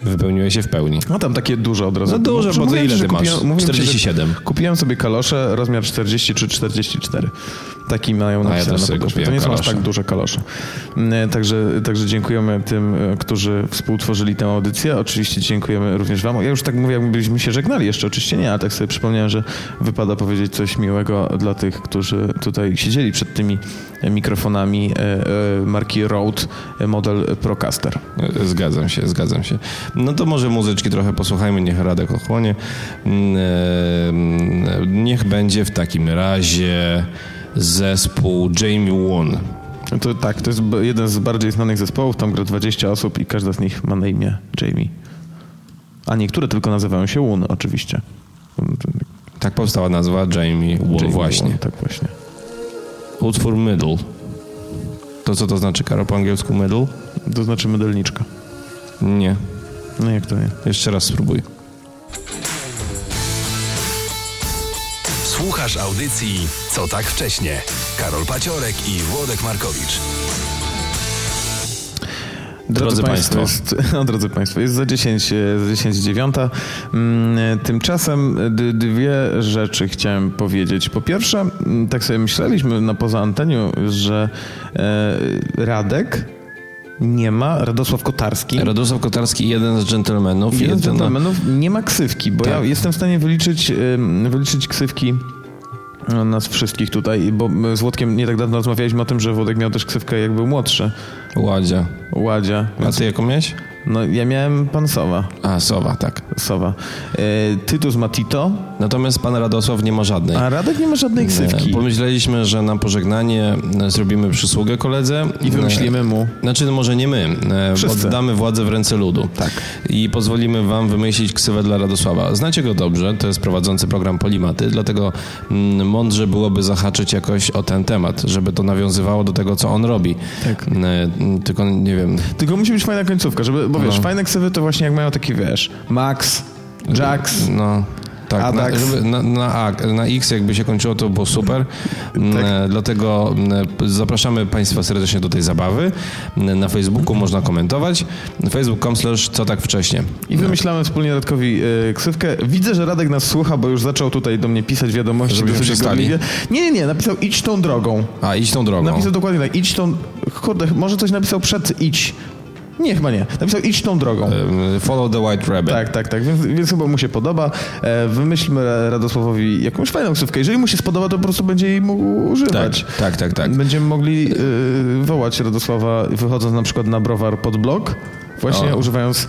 [SPEAKER 3] Wypełniłeś je w pełni.
[SPEAKER 2] No tam takie duże od razu.
[SPEAKER 3] No duże,
[SPEAKER 2] Mówiłem
[SPEAKER 3] bo to
[SPEAKER 2] ci,
[SPEAKER 3] ile
[SPEAKER 2] że
[SPEAKER 3] ty
[SPEAKER 2] kupiłem-
[SPEAKER 3] masz?
[SPEAKER 2] mówiłem ci, że
[SPEAKER 3] 47.
[SPEAKER 2] Kupiłem sobie kalosze, rozmiar 43-44. Taki mają napisane
[SPEAKER 3] No też
[SPEAKER 2] na
[SPEAKER 3] sobie
[SPEAKER 2] podeszwie. To
[SPEAKER 3] kupiłem
[SPEAKER 2] nie są aż
[SPEAKER 3] kalosze.
[SPEAKER 2] tak duże kalosze. Mm, Także, także dziękujemy tym, e, którzy współtworzyli tę audycję. Oczywiście dziękujemy również wam. Ja już tak mówię, jakbyśmy się żegnali jeszcze, oczywiście nie, ale tak sobie przypomniałem, że wypada powiedzieć coś miłego dla tych, którzy tutaj siedzieli przed tymi e, mikrofonami e, e, marki Rode e, model Procaster.
[SPEAKER 3] Zgadzam się, zgadzam się. No to może muzyczki trochę posłuchajmy, niech Radek ochłonie. Mm, em, Niech będzie w takim razie zespół Jamie Won.
[SPEAKER 2] No To tak, to jest b- jeden z bardziej znanych zespołów, tam gra 20 osób i każda z nich ma na imię Jamie. A niektóre tylko nazywają się Łun, oczywiście.
[SPEAKER 3] Tak powstała nazwa Jamie Won
[SPEAKER 2] Jamie
[SPEAKER 3] właśnie.
[SPEAKER 2] Łun, tak właśnie.
[SPEAKER 3] Utwór Middle. To co to znaczy, Karo, po angielsku Middle?
[SPEAKER 2] To znaczy mydelniczka.
[SPEAKER 3] Nie.
[SPEAKER 2] No jak to nie?
[SPEAKER 3] Jeszcze raz spróbuj.
[SPEAKER 1] Słuchasz audycji Co tak wcześnie. Karol Paciorek i Włodek Markowicz.
[SPEAKER 3] Drodzy Państwo.
[SPEAKER 2] Jest, no, drodzy Państwo, jest za 10, e, za 10 dziewiąta. Mm, Tymczasem d- dwie rzeczy chciałem powiedzieć. Po pierwsze, mm, tak sobie myśleliśmy na poza anteniu, że e, Radek nie ma, Radosław Kotarski.
[SPEAKER 3] Radosław Kotarski, jeden z dżentelmenów.
[SPEAKER 2] Jeden z
[SPEAKER 3] jedyna-
[SPEAKER 2] gentlemanów no, nie ma ksywki, bo
[SPEAKER 3] No. Tak.
[SPEAKER 2] ja jestem w stanie wyliczyć, ym, wyliczyć ksywki no, nas wszystkich tutaj, bo my z Łodkiem nie tak dawno rozmawialiśmy o tym, że Włodek miał też ksywkę jak był młodszy,
[SPEAKER 3] Ładzia.
[SPEAKER 2] Ładzia.
[SPEAKER 3] A ty jaką miałeś?
[SPEAKER 2] No ja miałem pan Sowa,
[SPEAKER 3] A, Sowa, tak.
[SPEAKER 2] Sowa. Yy, Tytus ma Tito,
[SPEAKER 3] Natomiast pan Radosław nie ma żadnej.
[SPEAKER 2] a Radek nie ma żadnej
[SPEAKER 3] E,
[SPEAKER 2] ksywki.
[SPEAKER 3] Pomyśleliśmy, że na pożegnanie e, zrobimy przysługę koledze.
[SPEAKER 2] I wymyślimy mu.
[SPEAKER 3] E, Znaczy, no może nie my. E,
[SPEAKER 2] Wszyscy.
[SPEAKER 3] Oddamy władzę w ręce ludu. Tak. I pozwolimy wam wymyślić ksywę dla Radosława. Znacie go dobrze, to jest prowadzący program Polimaty, dlatego mm, mądrze byłoby zahaczyć jakoś o ten temat, żeby to nawiązywało do tego, co on robi.
[SPEAKER 2] Tak.
[SPEAKER 3] E, m, Tylko nie wiem,
[SPEAKER 2] Tylko musi być fajna końcówka, żeby, bo wiesz,
[SPEAKER 3] No.
[SPEAKER 2] fajne ksywy to właśnie jak mają taki, wiesz, Max, Jax,
[SPEAKER 3] No. Tak, na,
[SPEAKER 2] Adax.
[SPEAKER 3] żeby, na, na, A, na X jakby się kończyło, to było super. Mm,
[SPEAKER 2] Tak.
[SPEAKER 3] e, Dlatego mm, p- zapraszamy Państwa serdecznie do tej zabawy. Mm, Na
[SPEAKER 2] Mhm.
[SPEAKER 3] Facebooku można komentować. Facebook.com slash co tak wcześnie.
[SPEAKER 2] I wymyślamy wspólnie Radkowi e, ksywkę. Widzę, że Radek nas słucha, bo już zaczął tutaj do mnie pisać wiadomości.
[SPEAKER 3] Żebyśmy
[SPEAKER 2] dosyć
[SPEAKER 3] przestali.
[SPEAKER 2] gorliwie. Nie, nie, nie. Napisał idź tą drogą.
[SPEAKER 3] A, idź tą drogą.
[SPEAKER 2] Napisał dokładnie tak. Idź tą... Kurde, może coś napisał przed idź. Nie, chyba nie. Napisał idź tą drogą.
[SPEAKER 3] Em, E, Follow the White Rabbit.
[SPEAKER 2] Tak, tak, tak. Więc, więc chyba mu się podoba. E, Wymyślmy Ra- Radosławowi jakąś fajną ksywkę. Jeżeli mu się spodoba, to po prostu będzie jej mógł
[SPEAKER 3] tak,
[SPEAKER 2] używać.
[SPEAKER 3] tak, tak. tak.
[SPEAKER 2] Będziemy mogli e, wołać Radosława, wychodząc na przykład na browar pod blok, właśnie
[SPEAKER 3] O.
[SPEAKER 2] używając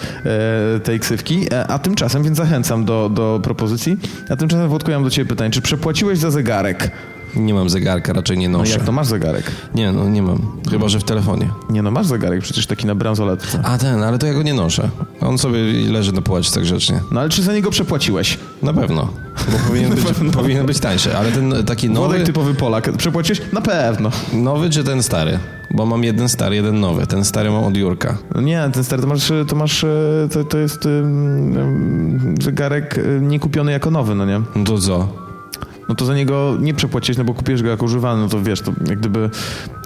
[SPEAKER 2] e, tej ksywki. E, a tymczasem, więc zachęcam do, do propozycji. A tymczasem, Włodku, ja mam do Ciebie pytanie. Czy przepłaciłeś za zegarek?
[SPEAKER 3] Nie mam zegarka, raczej nie
[SPEAKER 2] No
[SPEAKER 3] noszę.
[SPEAKER 2] jak to masz zegarek?
[SPEAKER 3] Nie, no nie mam. Chyba, że w telefonie.
[SPEAKER 2] Nie no, masz zegarek, przecież taki na bransoletce.
[SPEAKER 3] A ten, ale to ja go nie noszę. On sobie leży na półeczce grzecznie.
[SPEAKER 2] No ale czy za niego przepłaciłeś?
[SPEAKER 3] Na pewno. Bo powinien być, powinien być tańszy. No, Ale ten taki nowy...
[SPEAKER 2] Włodek typowy Polak. Przepłaciłeś? Na pewno.
[SPEAKER 3] Nowy czy ten stary? Bo mam jeden stary, jeden nowy. Ten stary mam od Jurka.
[SPEAKER 2] No Nie, ten stary, to masz, e, to masz, e, to, to jest ym, ym, zegarek e, nie kupiony jako nowy, no nie?
[SPEAKER 3] No to co?
[SPEAKER 2] no to za niego nie przepłaciłeś, no bo kupiłeś go jako używany, no to wiesz, to jak gdyby...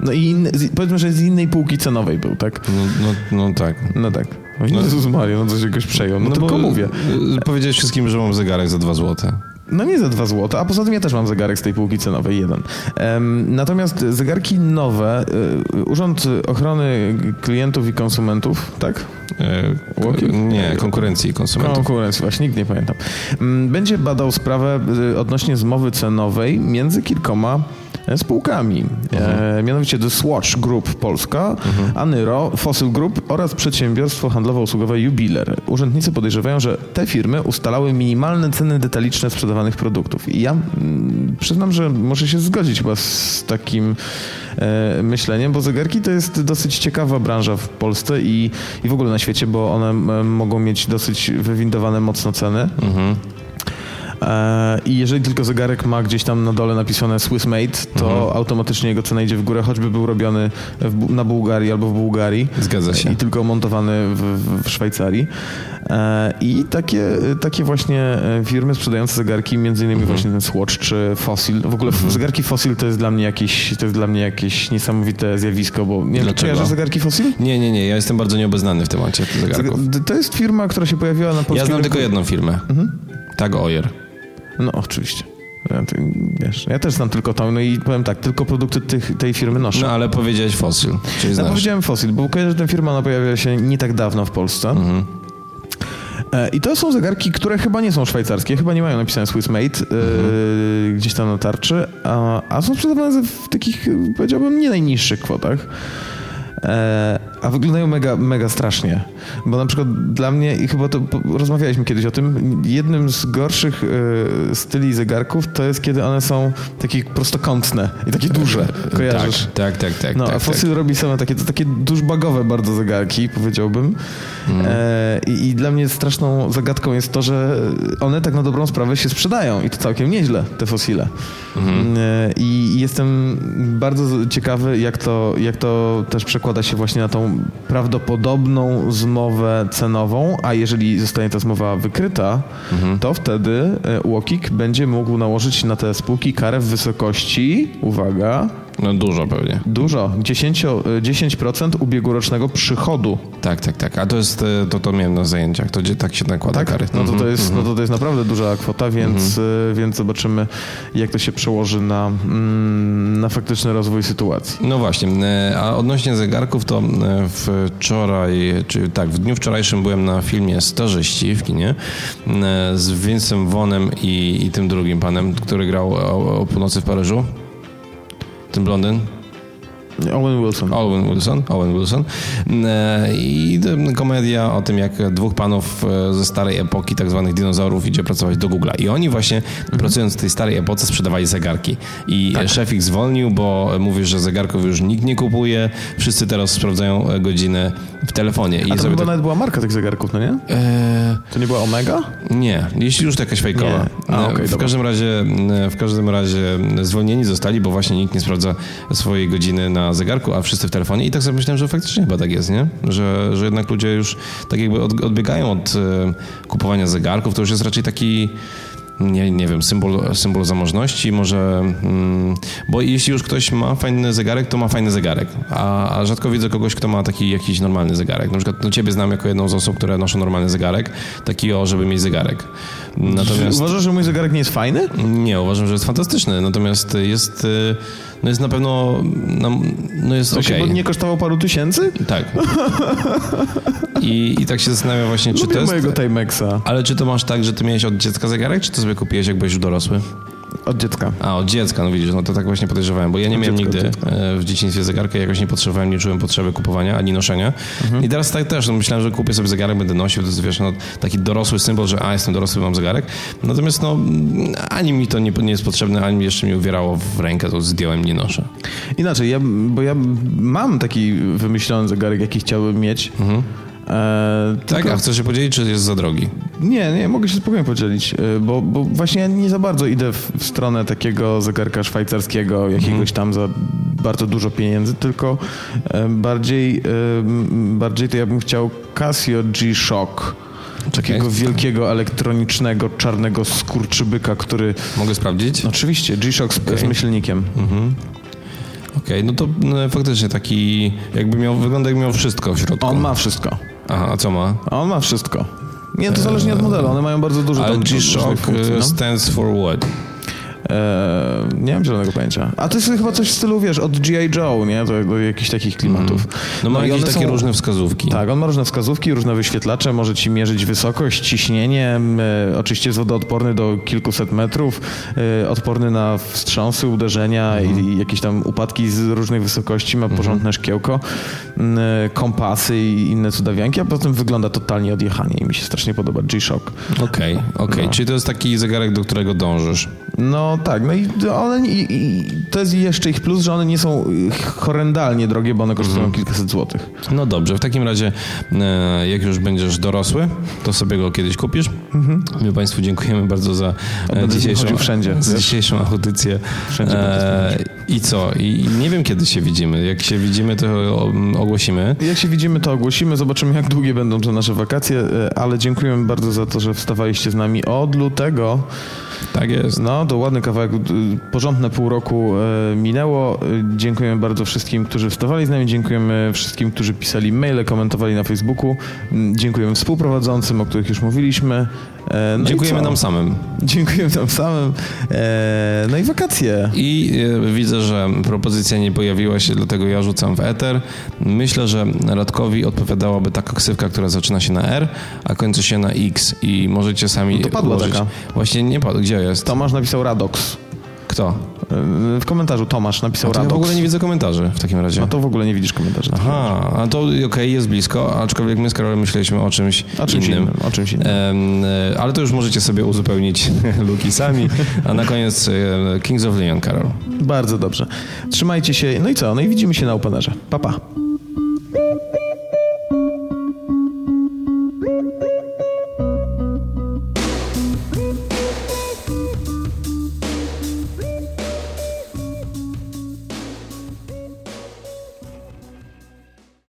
[SPEAKER 2] No i inny, z- powiedzmy, że z innej półki cenowej był, tak?
[SPEAKER 3] No, no, no tak.
[SPEAKER 2] No tak. O Jezus Maria, no coś jakoś przejął. No, tylko
[SPEAKER 3] bo,
[SPEAKER 2] mówię.
[SPEAKER 3] y, Powiedziałeś wszystkim, że mam zegarek za dwa złote.
[SPEAKER 2] No nie za dwa złota, a poza tym ja też mam zegarek z tej półki cenowej, jeden. Em, natomiast zegarki nowe, y, Urząd Ochrony Klientów i Konsumentów, tak?
[SPEAKER 3] E,
[SPEAKER 2] Łokieć?
[SPEAKER 3] nie, konkurencji i konsumentów.
[SPEAKER 2] Konkurencji, właśnie, nigdy nie pamiętam. Mm, Będzie badał sprawę y, odnośnie zmowy cenowej między kilkoma e, spółkami, e, mianowicie The Swatch Group Polska, Anyro, Fossil Group oraz przedsiębiorstwo handlowo-usługowe Jubiler. Urzędnicy podejrzewają, że te firmy ustalały minimalne ceny detaliczne sprzedawanych produktów. I ja mm, przyznam, że muszę się zgodzić chyba z takim e, myśleniem, bo zegarki to jest dosyć ciekawa branża w Polsce i, i w ogóle na świecie, bo one m, mogą mieć dosyć wywindowane mocno ceny.
[SPEAKER 3] Mhm.
[SPEAKER 2] E, I jeżeli tylko zegarek ma gdzieś tam na dole napisane Swiss Made, to
[SPEAKER 3] Mhm.
[SPEAKER 2] automatycznie jego cena idzie w górę, choćby był robiony w, Bu- na Bułgarii albo w Bułgarii.
[SPEAKER 3] Zgadza się.
[SPEAKER 2] I tylko montowany w, w- w Szwajcarii. E, I takie, takie właśnie e, firmy sprzedające zegarki, między innymi
[SPEAKER 3] Mhm.
[SPEAKER 2] właśnie ten Swatch czy Fossil. W ogóle zegarki Fossil to jest dla mnie jakieś, to jest dla mnie jakieś niesamowite zjawisko, bo nie wiem, czy
[SPEAKER 3] Dlaczego?
[SPEAKER 2] kojarzysz zegarki Fossil?
[SPEAKER 3] Nie, nie, nie. Ja jestem bardzo nieobeznany w temacie zegarków.
[SPEAKER 2] Zeg- To jest firma, która się pojawiła na polskim
[SPEAKER 3] Ja znam
[SPEAKER 2] rynku.
[SPEAKER 3] tylko jedną firmę.
[SPEAKER 2] Mhm.
[SPEAKER 3] Tag Oyer.
[SPEAKER 2] No oczywiście. Ja, ty, wiesz, ja też znam tylko tą, no i powiem tak, tylko produkty tych, tej firmy noszę.
[SPEAKER 3] No ale powiedziałeś Fossil, czyli
[SPEAKER 2] ja
[SPEAKER 3] znasz.
[SPEAKER 2] powiedziałem Fossil, bo kojarzę, że ta firma ona pojawiła się nie tak dawno w Polsce.
[SPEAKER 3] Mhm.
[SPEAKER 2] E, I to są zegarki, które chyba nie są szwajcarskie, chyba nie mają napisane Swiss Made e,
[SPEAKER 3] Mhm.
[SPEAKER 2] gdzieś tam na tarczy, a, a są sprzedawane w takich, powiedziałbym, nie najniższych kwotach. E, A wyglądają mega, mega strasznie. Bo na przykład dla mnie, i chyba to po- rozmawialiśmy kiedyś o tym, jednym z gorszych e, styli zegarków to jest kiedy one są takie prostokątne i takie duże. Kojarzysz?
[SPEAKER 3] Tak, tak, tak. tak,
[SPEAKER 2] No,
[SPEAKER 3] tak,
[SPEAKER 2] a Fossil robi same takie, to takie duszbagowe bardzo zegarki, powiedziałbym.
[SPEAKER 3] Mhm.
[SPEAKER 2] E, i, I dla mnie straszną zagadką jest to, że one tak na dobrą sprawę się sprzedają i to całkiem nieźle, te fosile.
[SPEAKER 3] Mhm.
[SPEAKER 2] E, I jestem bardzo z- ciekawy, jak to, jak to też przekłada się właśnie na tą prawdopodobną zmowę cenową, a jeżeli zostanie ta zmowa wykryta,
[SPEAKER 3] Mhm.
[SPEAKER 2] to wtedy e, UOKiK będzie mógł nałożyć na te spółki karę w wysokości, uwaga,
[SPEAKER 3] No dużo pewnie.
[SPEAKER 2] Dużo. 10, 10% ubiegłorocznego przychodu.
[SPEAKER 3] Tak, tak, tak. A to jest, e, to to miałem na zajęciach, to gdzie tak Mhm, się nakłada kary.
[SPEAKER 2] No to, to jest, no to to jest naprawdę duża kwota, więc,
[SPEAKER 3] Mhm.
[SPEAKER 2] y, więc zobaczymy, jak to się przełoży na, mm, na faktyczny rozwój sytuacji.
[SPEAKER 3] No właśnie, e, a odnośnie zegarków, to e, wczoraj, czy tak, w dniu wczorajszym byłem na filmie Starzyści w kinie e, z Vincem Vonem i, i tym drugim panem, który grał o, o północy w Paryżu. Ten blondyn.
[SPEAKER 2] Owen Wilson.
[SPEAKER 3] Owen Wilson. Owen Wilson. E, I e, komedia o tym, jak dwóch panów e, ze starej epoki, tak zwanych dinozaurów, idzie pracować do Google'a. I oni właśnie,
[SPEAKER 2] Mhm.
[SPEAKER 3] pracując w tej starej epoce, sprzedawali zegarki. I
[SPEAKER 2] Tak.
[SPEAKER 3] e, szef ich zwolnił, bo e, mówi, że zegarków już nikt nie kupuje. Wszyscy teraz sprawdzają e, godziny w telefonie. I
[SPEAKER 2] A to
[SPEAKER 3] sobie
[SPEAKER 2] chyba
[SPEAKER 3] tak-
[SPEAKER 2] nawet była marka tych zegarków, no nie?
[SPEAKER 3] E,
[SPEAKER 2] To nie była Omega?
[SPEAKER 3] nie, jeśli już to jakaś fejkowa.
[SPEAKER 2] Nie. A,
[SPEAKER 3] E,
[SPEAKER 2] okej,
[SPEAKER 3] w,
[SPEAKER 2] dobra.
[SPEAKER 3] każdym razie, e, w każdym razie m, zwolnieni zostali, bo właśnie nikt nie sprawdza swojej godziny na zegarku, a wszyscy w telefonie. I tak sobie myślałem, że faktycznie chyba tak jest, nie? Że, że jednak ludzie już tak jakby od, odbiegają od e, kupowania zegarków. To już jest raczej taki... Nie, nie wiem, symbol, symbol zamożności, może. Mm, bo jeśli już ktoś ma fajny zegarek, to ma fajny zegarek. A, a rzadko widzę kogoś, kto ma taki jakiś normalny zegarek. Na przykład no, ciebie znam jako jedną z osób, które noszą normalny zegarek, taki o, żeby mieć zegarek. Natomiast.
[SPEAKER 2] Uważasz, że mój zegarek nie jest fajny?
[SPEAKER 3] Nie, uważam, że jest fantastyczny. Natomiast jest. y, No jest na pewno. No, no jest
[SPEAKER 2] To się
[SPEAKER 3] okej.
[SPEAKER 2] nie kosztował paru tysięcy?
[SPEAKER 3] Tak. I, I tak się zastanawiam właśnie, czy
[SPEAKER 2] Lubię
[SPEAKER 3] to jest.
[SPEAKER 2] mojego Timexa
[SPEAKER 3] Ale czy to masz tak, że ty miałeś od dziecka zegarek, czy to sobie kupiłeś, jak byłeś już dorosły?
[SPEAKER 2] od dziecka.
[SPEAKER 3] A, od dziecka, no widzisz, no to tak właśnie podejrzewałem, bo ja nie
[SPEAKER 2] Od
[SPEAKER 3] miałem
[SPEAKER 2] dziecka,
[SPEAKER 3] nigdy
[SPEAKER 2] od
[SPEAKER 3] e, w dzieciństwie zegarka, jakoś nie potrzebowałem, nie czułem potrzeby kupowania ani noszenia.
[SPEAKER 2] Mhm.
[SPEAKER 3] I teraz tak też, no myślałem, że kupię sobie zegarek, będę nosił, to jest wiesz, no, taki dorosły symbol, że a, jestem dorosły, mam zegarek. Natomiast no, mm, ani mi to nie, nie jest potrzebne, ani jeszcze mi uwierało w rękę, to zdjąłem, nie noszę.
[SPEAKER 2] Inaczej, ja, bo ja mam taki wymyślony zegarek, jaki chciałbym mieć. E,
[SPEAKER 3] Tak, a Mhm. chcesz się podzielić, czy jest za drogi?
[SPEAKER 2] Nie, nie, mogę się spokojnie podzielić, y, bo, bo właśnie ja nie za bardzo idę w, w stronę takiego zegarka szwajcarskiego,
[SPEAKER 3] Mhm.
[SPEAKER 2] jakiegoś tam za bardzo dużo pieniędzy, tylko y, bardziej, y, m, bardziej to ja bym chciał Casio G-Shock. Takiego wielkiego, elektronicznego, czarnego skurczybyka, który...
[SPEAKER 3] Mogę sprawdzić?
[SPEAKER 2] No, Oczywiście, G-Shock z, z myślnikiem.
[SPEAKER 3] Okej, no to no, faktycznie taki, jakby miał, wygląda jak miał wszystko w środku.
[SPEAKER 2] On ma wszystko.
[SPEAKER 3] Aha, a co ma?
[SPEAKER 2] On ma wszystko. Nie, to zależnie od modelu, one mają bardzo dużo
[SPEAKER 3] E, Ale
[SPEAKER 2] tam różnych
[SPEAKER 3] G-Shock
[SPEAKER 2] funkcji,
[SPEAKER 3] e,
[SPEAKER 2] no.
[SPEAKER 3] stands for what?
[SPEAKER 2] Eee, nie mam zielonego pojęcia. A to jest chyba coś w stylu, wiesz, od G.I. Joe, nie? Do, do jakichś takich klimatów.
[SPEAKER 3] No ma
[SPEAKER 2] i
[SPEAKER 3] jakieś
[SPEAKER 2] one
[SPEAKER 3] takie
[SPEAKER 2] są-
[SPEAKER 3] różne wskazówki.
[SPEAKER 2] Tak, on ma różne wskazówki, różne wyświetlacze, może ci mierzyć wysokość, ciśnienie, m, e, oczywiście jest wodoodporny do kilkuset metrów, e, odporny na wstrząsy, uderzenia i,
[SPEAKER 3] Mhm.
[SPEAKER 2] i jakieś tam upadki z różnych wysokości, ma porządne szkiełko, m, e, kompasy i inne cudawianki, a poza tym wygląda totalnie odjechanie i mi się strasznie podoba G-Shock.
[SPEAKER 3] Okej, okej. Czyli to jest taki zegarek, do którego dążysz.
[SPEAKER 2] No tak, no i one, i, i to jest jeszcze ich plus, że one nie są horrendalnie drogie, bo one kosztują
[SPEAKER 3] Mhm.
[SPEAKER 2] kilkaset złotych.
[SPEAKER 3] No dobrze, w takim razie e, jak już będziesz dorosły, to sobie go kiedyś kupisz. My Państwu dziękujemy bardzo za e,
[SPEAKER 2] będę
[SPEAKER 3] dzisiejszą,
[SPEAKER 2] Mhm. chodził wszędzie,
[SPEAKER 3] za
[SPEAKER 2] wiesz?
[SPEAKER 3] dzisiejszą audycję. E,
[SPEAKER 2] Wszędzie będę
[SPEAKER 3] I co? I i nie wiem, kiedy się widzimy. Jak się widzimy, to o- ogłosimy.
[SPEAKER 2] Jak się widzimy, to ogłosimy, zobaczymy jak długie będą te nasze wakacje, e, ale dziękujemy bardzo za to, że wstawaliście z nami od lutego.
[SPEAKER 3] Tak jest.
[SPEAKER 2] No, to ładny kawałek, e, porządne pół roku e, minęło. E, Dziękujemy bardzo wszystkim, którzy wstawali z nami, dziękujemy wszystkim, którzy pisali maile, komentowali na Facebooku. Mm, Dziękujemy współprowadzącym, o których już mówiliśmy. E, no i
[SPEAKER 3] Dziękujemy
[SPEAKER 2] co?
[SPEAKER 3] nam samym.
[SPEAKER 2] Dziękuję tam samym. Eee, no i wakacje.
[SPEAKER 3] I e, widzę, że propozycja nie pojawiła się, dlatego ja rzucam w eter. Myślę, że Radkowi odpowiadałaby taka ksywka, która zaczyna się na R, a kończy się na X. I możecie sami.
[SPEAKER 2] No to padła
[SPEAKER 3] ułożyć.
[SPEAKER 2] taka.
[SPEAKER 3] Właśnie nie padła. Gdzie jest?
[SPEAKER 2] Tomasz napisał Radox.
[SPEAKER 3] Kto?
[SPEAKER 2] Eee, W komentarzu Tomasz napisał
[SPEAKER 3] A to ja
[SPEAKER 2] Radox.
[SPEAKER 3] w ogóle nie widzę komentarzy w takim razie.
[SPEAKER 2] No to w ogóle nie widzisz komentarzy.
[SPEAKER 3] Aha, a to okej, jest blisko, aczkolwiek my z Karolem myśleliśmy o czymś,
[SPEAKER 2] O czymś
[SPEAKER 3] innym.
[SPEAKER 2] innym. O czymś innym.
[SPEAKER 3] Em, e, ale to już możecie sobie uzupełnić luki sami. A na koniec e, Kings of Leon, Karol.
[SPEAKER 2] Bardzo dobrze. Trzymajcie się. No i co? No i widzimy się na Openerze. Pa, pa.